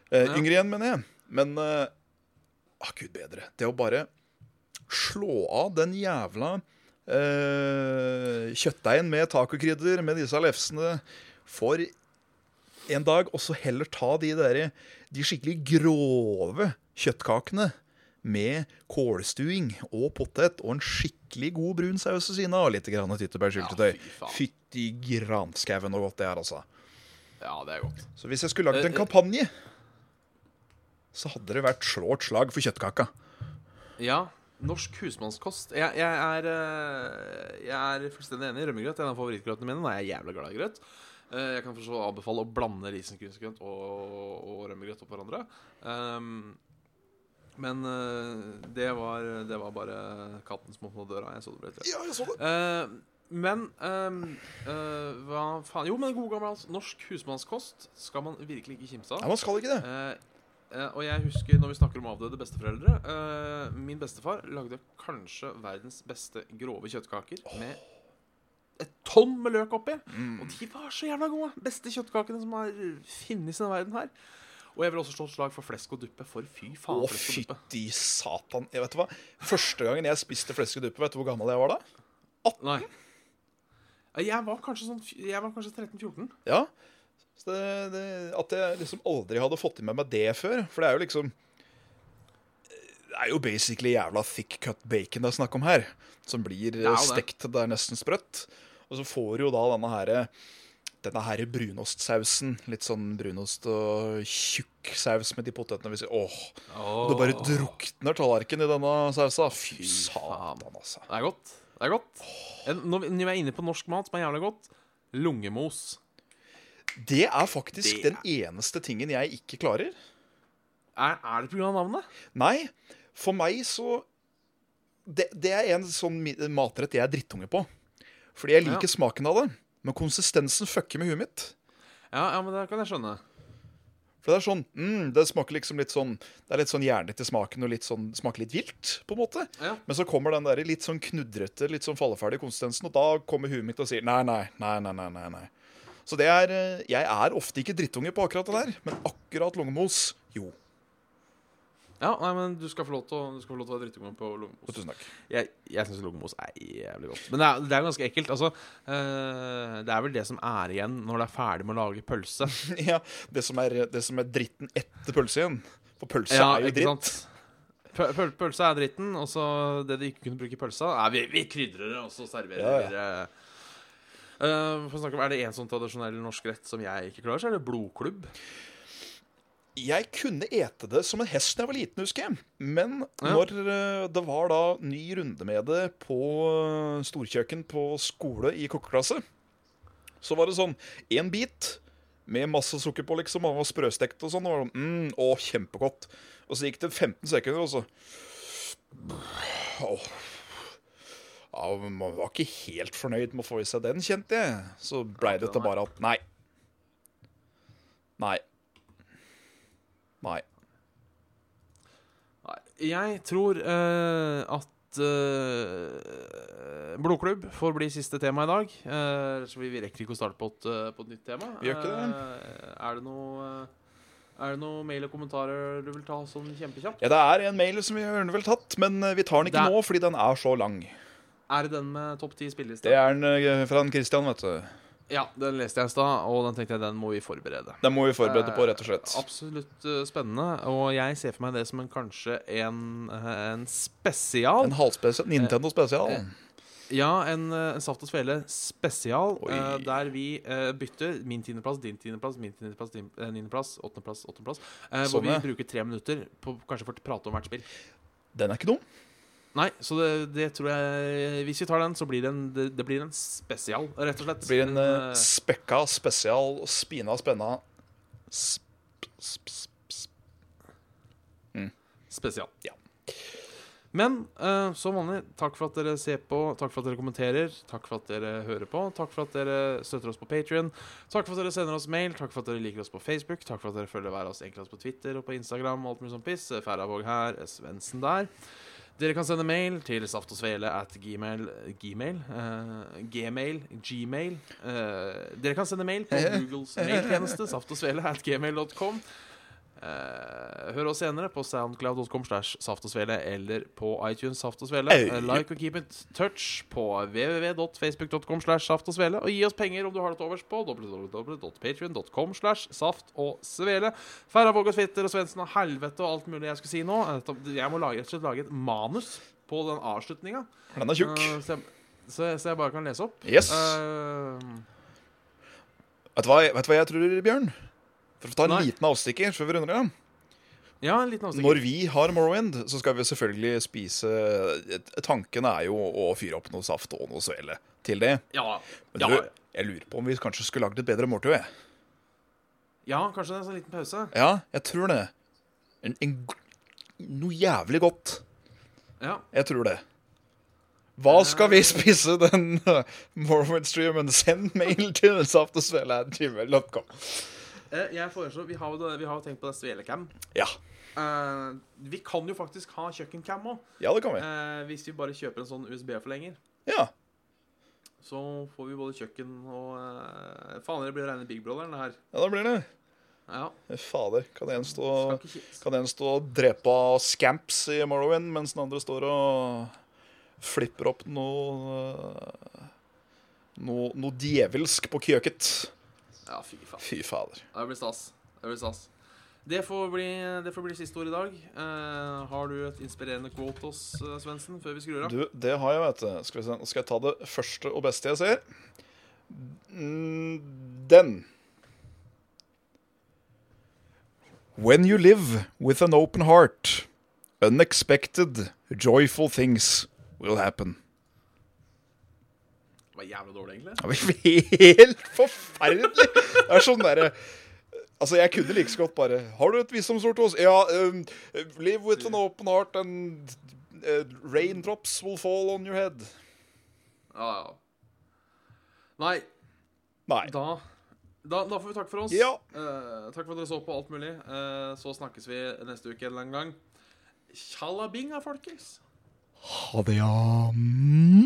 [SPEAKER 1] Eh,
[SPEAKER 2] Ja.
[SPEAKER 1] Yngre igjen, mener jeg. Men eh, ah, gud bedre. Det å bare slå av den jævla eh, kjøttdeigen med tacokrydder, med disse lefsene, for en dag, og så heller ta de der, de skikkelig grove kjøttkakene med kålstuing og potet og en skikkelig god brun saus ved siden av, og litt grann tyttebærsyltetøy.
[SPEAKER 2] Ja, fy faen.
[SPEAKER 1] Fytti granskauen og godt det er, altså.
[SPEAKER 2] Ja, det er godt.
[SPEAKER 1] Så hvis jeg skulle lagd
[SPEAKER 2] Eh,
[SPEAKER 1] en
[SPEAKER 2] eh.
[SPEAKER 1] kampanje, så hadde det vært slå et slag for kjøttkaka.
[SPEAKER 2] Ja. Norsk husmannskost. Jeg, jeg, er, eh, jeg er fullstendig enig. Rømmegrøt er en av favorittgrøtene mine. Nå er jeg jævlig glad i grøt. Eh, Jeg kan forstå anbefale å blande risengrynsgrøt og, og rømmegrøt opp hverandre. Ehm, men eh, det var, det var bare katten som åpna døra. Jeg så det ble litt redd.
[SPEAKER 1] Ja, jeg så det.
[SPEAKER 2] Eh, men eh, eh, hva faen Jo, men god gammel norsk husmannskost skal man virkelig ikke kimse av.
[SPEAKER 1] Nei, man skal ikke det.
[SPEAKER 2] Eh, eh, og jeg husker, når vi snakker om avdøde besteforeldre eh, Min bestefar lagde kanskje verdens beste grove kjøttkaker med et tonn med løk oppi.
[SPEAKER 1] Mm.
[SPEAKER 2] Og de var så jævla gode! Beste kjøttkakene som har finnes i denne verden her. Og jeg vil også slå et slag for flesk og duppe, for fy faen.
[SPEAKER 1] Å,
[SPEAKER 2] flesk og duppe.
[SPEAKER 1] fytti satan. Jeg vet hva? Første gangen jeg spiste fleskeduppe, vet du hvor gammel jeg var da?
[SPEAKER 2] Nei. Jeg var kanskje sånn fj- Jeg var kanskje 13-14.
[SPEAKER 1] Ja. Så det, det, at jeg liksom aldri hadde fått i med meg det før. For det er jo liksom Det er jo basically jævla thick cut bacon det er snakk om her. Som blir
[SPEAKER 2] er jo
[SPEAKER 1] eh,
[SPEAKER 2] det.
[SPEAKER 1] stekt til det er nesten sprøtt. Og så får du jo da denne her, denne her brunostsausen. Litt sånn brunost og tjukk saus med de potetene. Vi sier, åh, Du bare drukner tallerkenen i denne sausa. Fy
[SPEAKER 2] faen.
[SPEAKER 1] satan, altså.
[SPEAKER 2] Det er godt. Det er godt. En, når, vi, når vi er inne på norsk mat, som er jævlig godt Lungemos.
[SPEAKER 1] Det er faktisk
[SPEAKER 2] Det er-
[SPEAKER 1] den eneste tingen jeg ikke klarer.
[SPEAKER 2] Er, er det pga. navnet?
[SPEAKER 1] Nei, for meg så Det, det er en sånn mi- matrett jeg er drittunge på. Fordi jeg liker
[SPEAKER 2] Ja.
[SPEAKER 1] smaken av det, men konsistensen fucker med huet mitt.
[SPEAKER 2] Ja, ja, men det kan jeg skjønne.
[SPEAKER 1] For det er sånn mm, Det smaker liksom litt sånn Det er litt sånn jernete i smaken og litt sånn, smaker litt vilt, på en måte.
[SPEAKER 2] Ja.
[SPEAKER 1] Men så kommer den der litt sånn knudrete, litt sånn falleferdige konsistensen, og da kommer huet mitt og sier nei, nei, nei, nei, nei. nei, nei. Så det er eh, Jeg er ofte ikke drittunge på akkurat det der, men akkurat lungemos, jo.
[SPEAKER 2] ja, nei, men du skal få lov til å, du skal få lov til å være drittunge på lungemos.
[SPEAKER 1] Tusen takk.
[SPEAKER 2] Jeg, jeg syns lungemos er jævlig godt. Men det er, det er ganske ekkelt. Altså, eh, det er vel det som er igjen når det er ferdig med å lage pølse.
[SPEAKER 1] [LAUGHS] Ja, det som er, det som er dritten etter pølse igjen. For pølse er jo
[SPEAKER 2] ikke
[SPEAKER 1] dritt.
[SPEAKER 2] sant? Pø pøl- pølse er dritten, og så det de ikke kunne bruke i pølsa er Vi, vi krydrer det, og så serverer
[SPEAKER 1] Ja, ja.
[SPEAKER 2] vi det. Eh, for å snakke om, Er det en sånn tradisjonell norsk rett som jeg ikke klarer, så er det blodklubb.
[SPEAKER 1] Jeg kunne ete det som en hest da jeg var liten, husker jeg. Men
[SPEAKER 2] Ja.
[SPEAKER 1] når eh, det var da ny runde med det på eh, storkjøkken på skole i kokkeklasse, så var det sånn én bit med masse sukker på, liksom. Han var sprøstekt og sånn. Og var sånn, mm, å, kjempegodt. Og så gikk det 15 sekunder, og så Åh. ja, Man var ikke helt fornøyd med å få i seg den, kjente jeg. Så blei det til bare at nei. Nei. Nei.
[SPEAKER 2] jeg tror eh, at eh, Blodklubb får bli siste tema i dag. Eh, så vi vi rekker ikke å starte på et, eh, på et nytt tema.
[SPEAKER 1] Vi gjør ikke det.
[SPEAKER 2] Eh, er det noe eh, Er det noe mail og kommentarer du vil ta sånn kjempekjapt?
[SPEAKER 1] Ja, Det er en mail som vi gjerne vel tatt, men eh, vi tar den ikke
[SPEAKER 2] Det er-
[SPEAKER 1] nå fordi den er så lang.
[SPEAKER 2] Er det den med topp ti spilleliste?
[SPEAKER 1] Det er den eh, fra en Christian, vet du.
[SPEAKER 2] Ja, den leste jeg i stad, og den tenkte jeg den må vi forberede.
[SPEAKER 1] Den må vi forberede på, rett og
[SPEAKER 2] Eh,
[SPEAKER 1] slett.
[SPEAKER 2] Absolutt eh, spennende, og jeg ser for meg det som en kanskje en, eh, en spesial.
[SPEAKER 1] En halvspesial Nintendo
[SPEAKER 2] Eh,
[SPEAKER 1] spesial.
[SPEAKER 2] Ja, en, eh, en Saft og Svele spesial,
[SPEAKER 1] Oi.
[SPEAKER 2] eh, der vi eh, bytter min tiendeplass, din tiendeplass, min tiendeplass, din eh, niendeplass, åttendeplass, åttendeplass. eh, hvor
[SPEAKER 1] Sånn,
[SPEAKER 2] vi
[SPEAKER 1] ja.
[SPEAKER 2] bruker tre minutter på kanskje for å prate om hvert spill.
[SPEAKER 1] Den er ikke dum.
[SPEAKER 2] Nei, så det, det tror jeg Hvis vi tar den, så blir det en, det, det blir en spesial, rett og slett.
[SPEAKER 1] Det blir en eh,
[SPEAKER 2] eh,
[SPEAKER 1] spekka spesial, spina spenna sp, sp, sp, sp.
[SPEAKER 2] spesial.
[SPEAKER 1] Ja.
[SPEAKER 2] Men eh, som vanlig, takk for at dere ser på, takk for at dere kommenterer, takk for at dere hører på, takk for at dere støtter oss på Patrion, takk for at dere sender oss mail, takk for at dere liker oss på Facebook, takk for at dere følger hver av oss enklest på Twitter og på Instagram og alt mulig sånn piss. Færhavåg her, Svendsen der. Dere kan sende mail til saftogsvele at gmail Gmail? eh, gmail? Gmail? eh, dere kan sende mail på Googles mailtjeneste, saftogsvele at gmail.com. Eh, hør oss senere på soundcloud.com slash saft og svele eller på iTunes saft og svele.
[SPEAKER 1] Au.
[SPEAKER 2] Eh, Like og keep it touch på www.facebook.com slash saft og svele. Og gi oss penger om du har det til overs på www.patrion.com slash saft og svele. Færre Vågas fitter og Svendsen og helvete og alt mulig jeg skulle si nå. Eh, ta- Jeg må lage, rett og slett lage et manus på den avslutninga,
[SPEAKER 1] Den er tjukk.
[SPEAKER 2] Eh, så, jeg- så, så jeg bare kan lese opp.
[SPEAKER 1] Yes.
[SPEAKER 2] Eh,
[SPEAKER 1] Vet, du hva, vet du hva jeg tror, Bjørn? For å ta en
[SPEAKER 2] Nei.
[SPEAKER 1] liten avstikker før vi runder av.
[SPEAKER 2] ja, en liten avstikker.
[SPEAKER 1] Når vi har Morrowind, så skal vi selvfølgelig spise Tanken er jo å fyre opp noe saft og noe svele til det.
[SPEAKER 2] Ja,
[SPEAKER 1] Men
[SPEAKER 2] ja,
[SPEAKER 1] du, jeg lurer på om vi kanskje skulle lagd et bedre måltid. jeg.
[SPEAKER 2] ja, kanskje det er en sånn liten pause.
[SPEAKER 1] Ja, jeg tror det. En, en, g- noe jævlig godt.
[SPEAKER 2] Ja.
[SPEAKER 1] Jeg tror det. Hva skal vi spise den uh, Morrowind-streamen? Send mail til saftosvele.gmail.com.
[SPEAKER 2] Eh, Jeg foreslår, Vi har jo det- vi har jo tenkt på det svelecam.
[SPEAKER 1] Ja.
[SPEAKER 2] Eh, vi kan jo faktisk ha kjøkkencam òg,
[SPEAKER 1] ja, det kan vi.
[SPEAKER 2] eh, hvis vi bare kjøper en sånn USB-forlenger.
[SPEAKER 1] Ja.
[SPEAKER 2] Så får vi både kjøkken og eh, Faen, det blir å regne Big Brother, det her.
[SPEAKER 1] ja, da blir det.
[SPEAKER 2] Ja,
[SPEAKER 1] Fader, kan en
[SPEAKER 2] skal
[SPEAKER 1] stå
[SPEAKER 2] ikke ki-
[SPEAKER 1] Kan en stå og drepe av scamps i Morrowind, mens den andre står og flipper opp noe eh, Noe, noe djevelsk på kjøket.
[SPEAKER 2] ja, fy faen.
[SPEAKER 1] Fy fader.
[SPEAKER 2] Det blir stas. Det blir stas. Det får bli, det får bli siste ord i dag. Eh, har du et inspirerende quote til oss, eh, Svendsen, før vi skrur av?
[SPEAKER 1] Du, det har jeg, vet du. Skal, vi se. Nå skal jeg ta det første og beste jeg ser? Mm, Den. When you live with an open heart, unexpected, joyful things will happen.
[SPEAKER 2] Det var jævla dårlig, egentlig.
[SPEAKER 1] Det var [LAUGHS] helt forferdelig. Det er sånn derre Altså, jeg kunne like så godt bare Har du et visdomsord til oss? Ja. Um, live with an open heart and uh, raindrops will fall on your head.
[SPEAKER 2] Ja, ja. Nei,
[SPEAKER 1] Nei.
[SPEAKER 2] Da, da, da får vi takk for oss.
[SPEAKER 1] Ja.
[SPEAKER 2] Eh, takk for at dere så på alt mulig. Eh, så snakkes vi neste uke en eller annen gang. Tjalabinga, folkens!
[SPEAKER 1] Ha det, ja. Mm.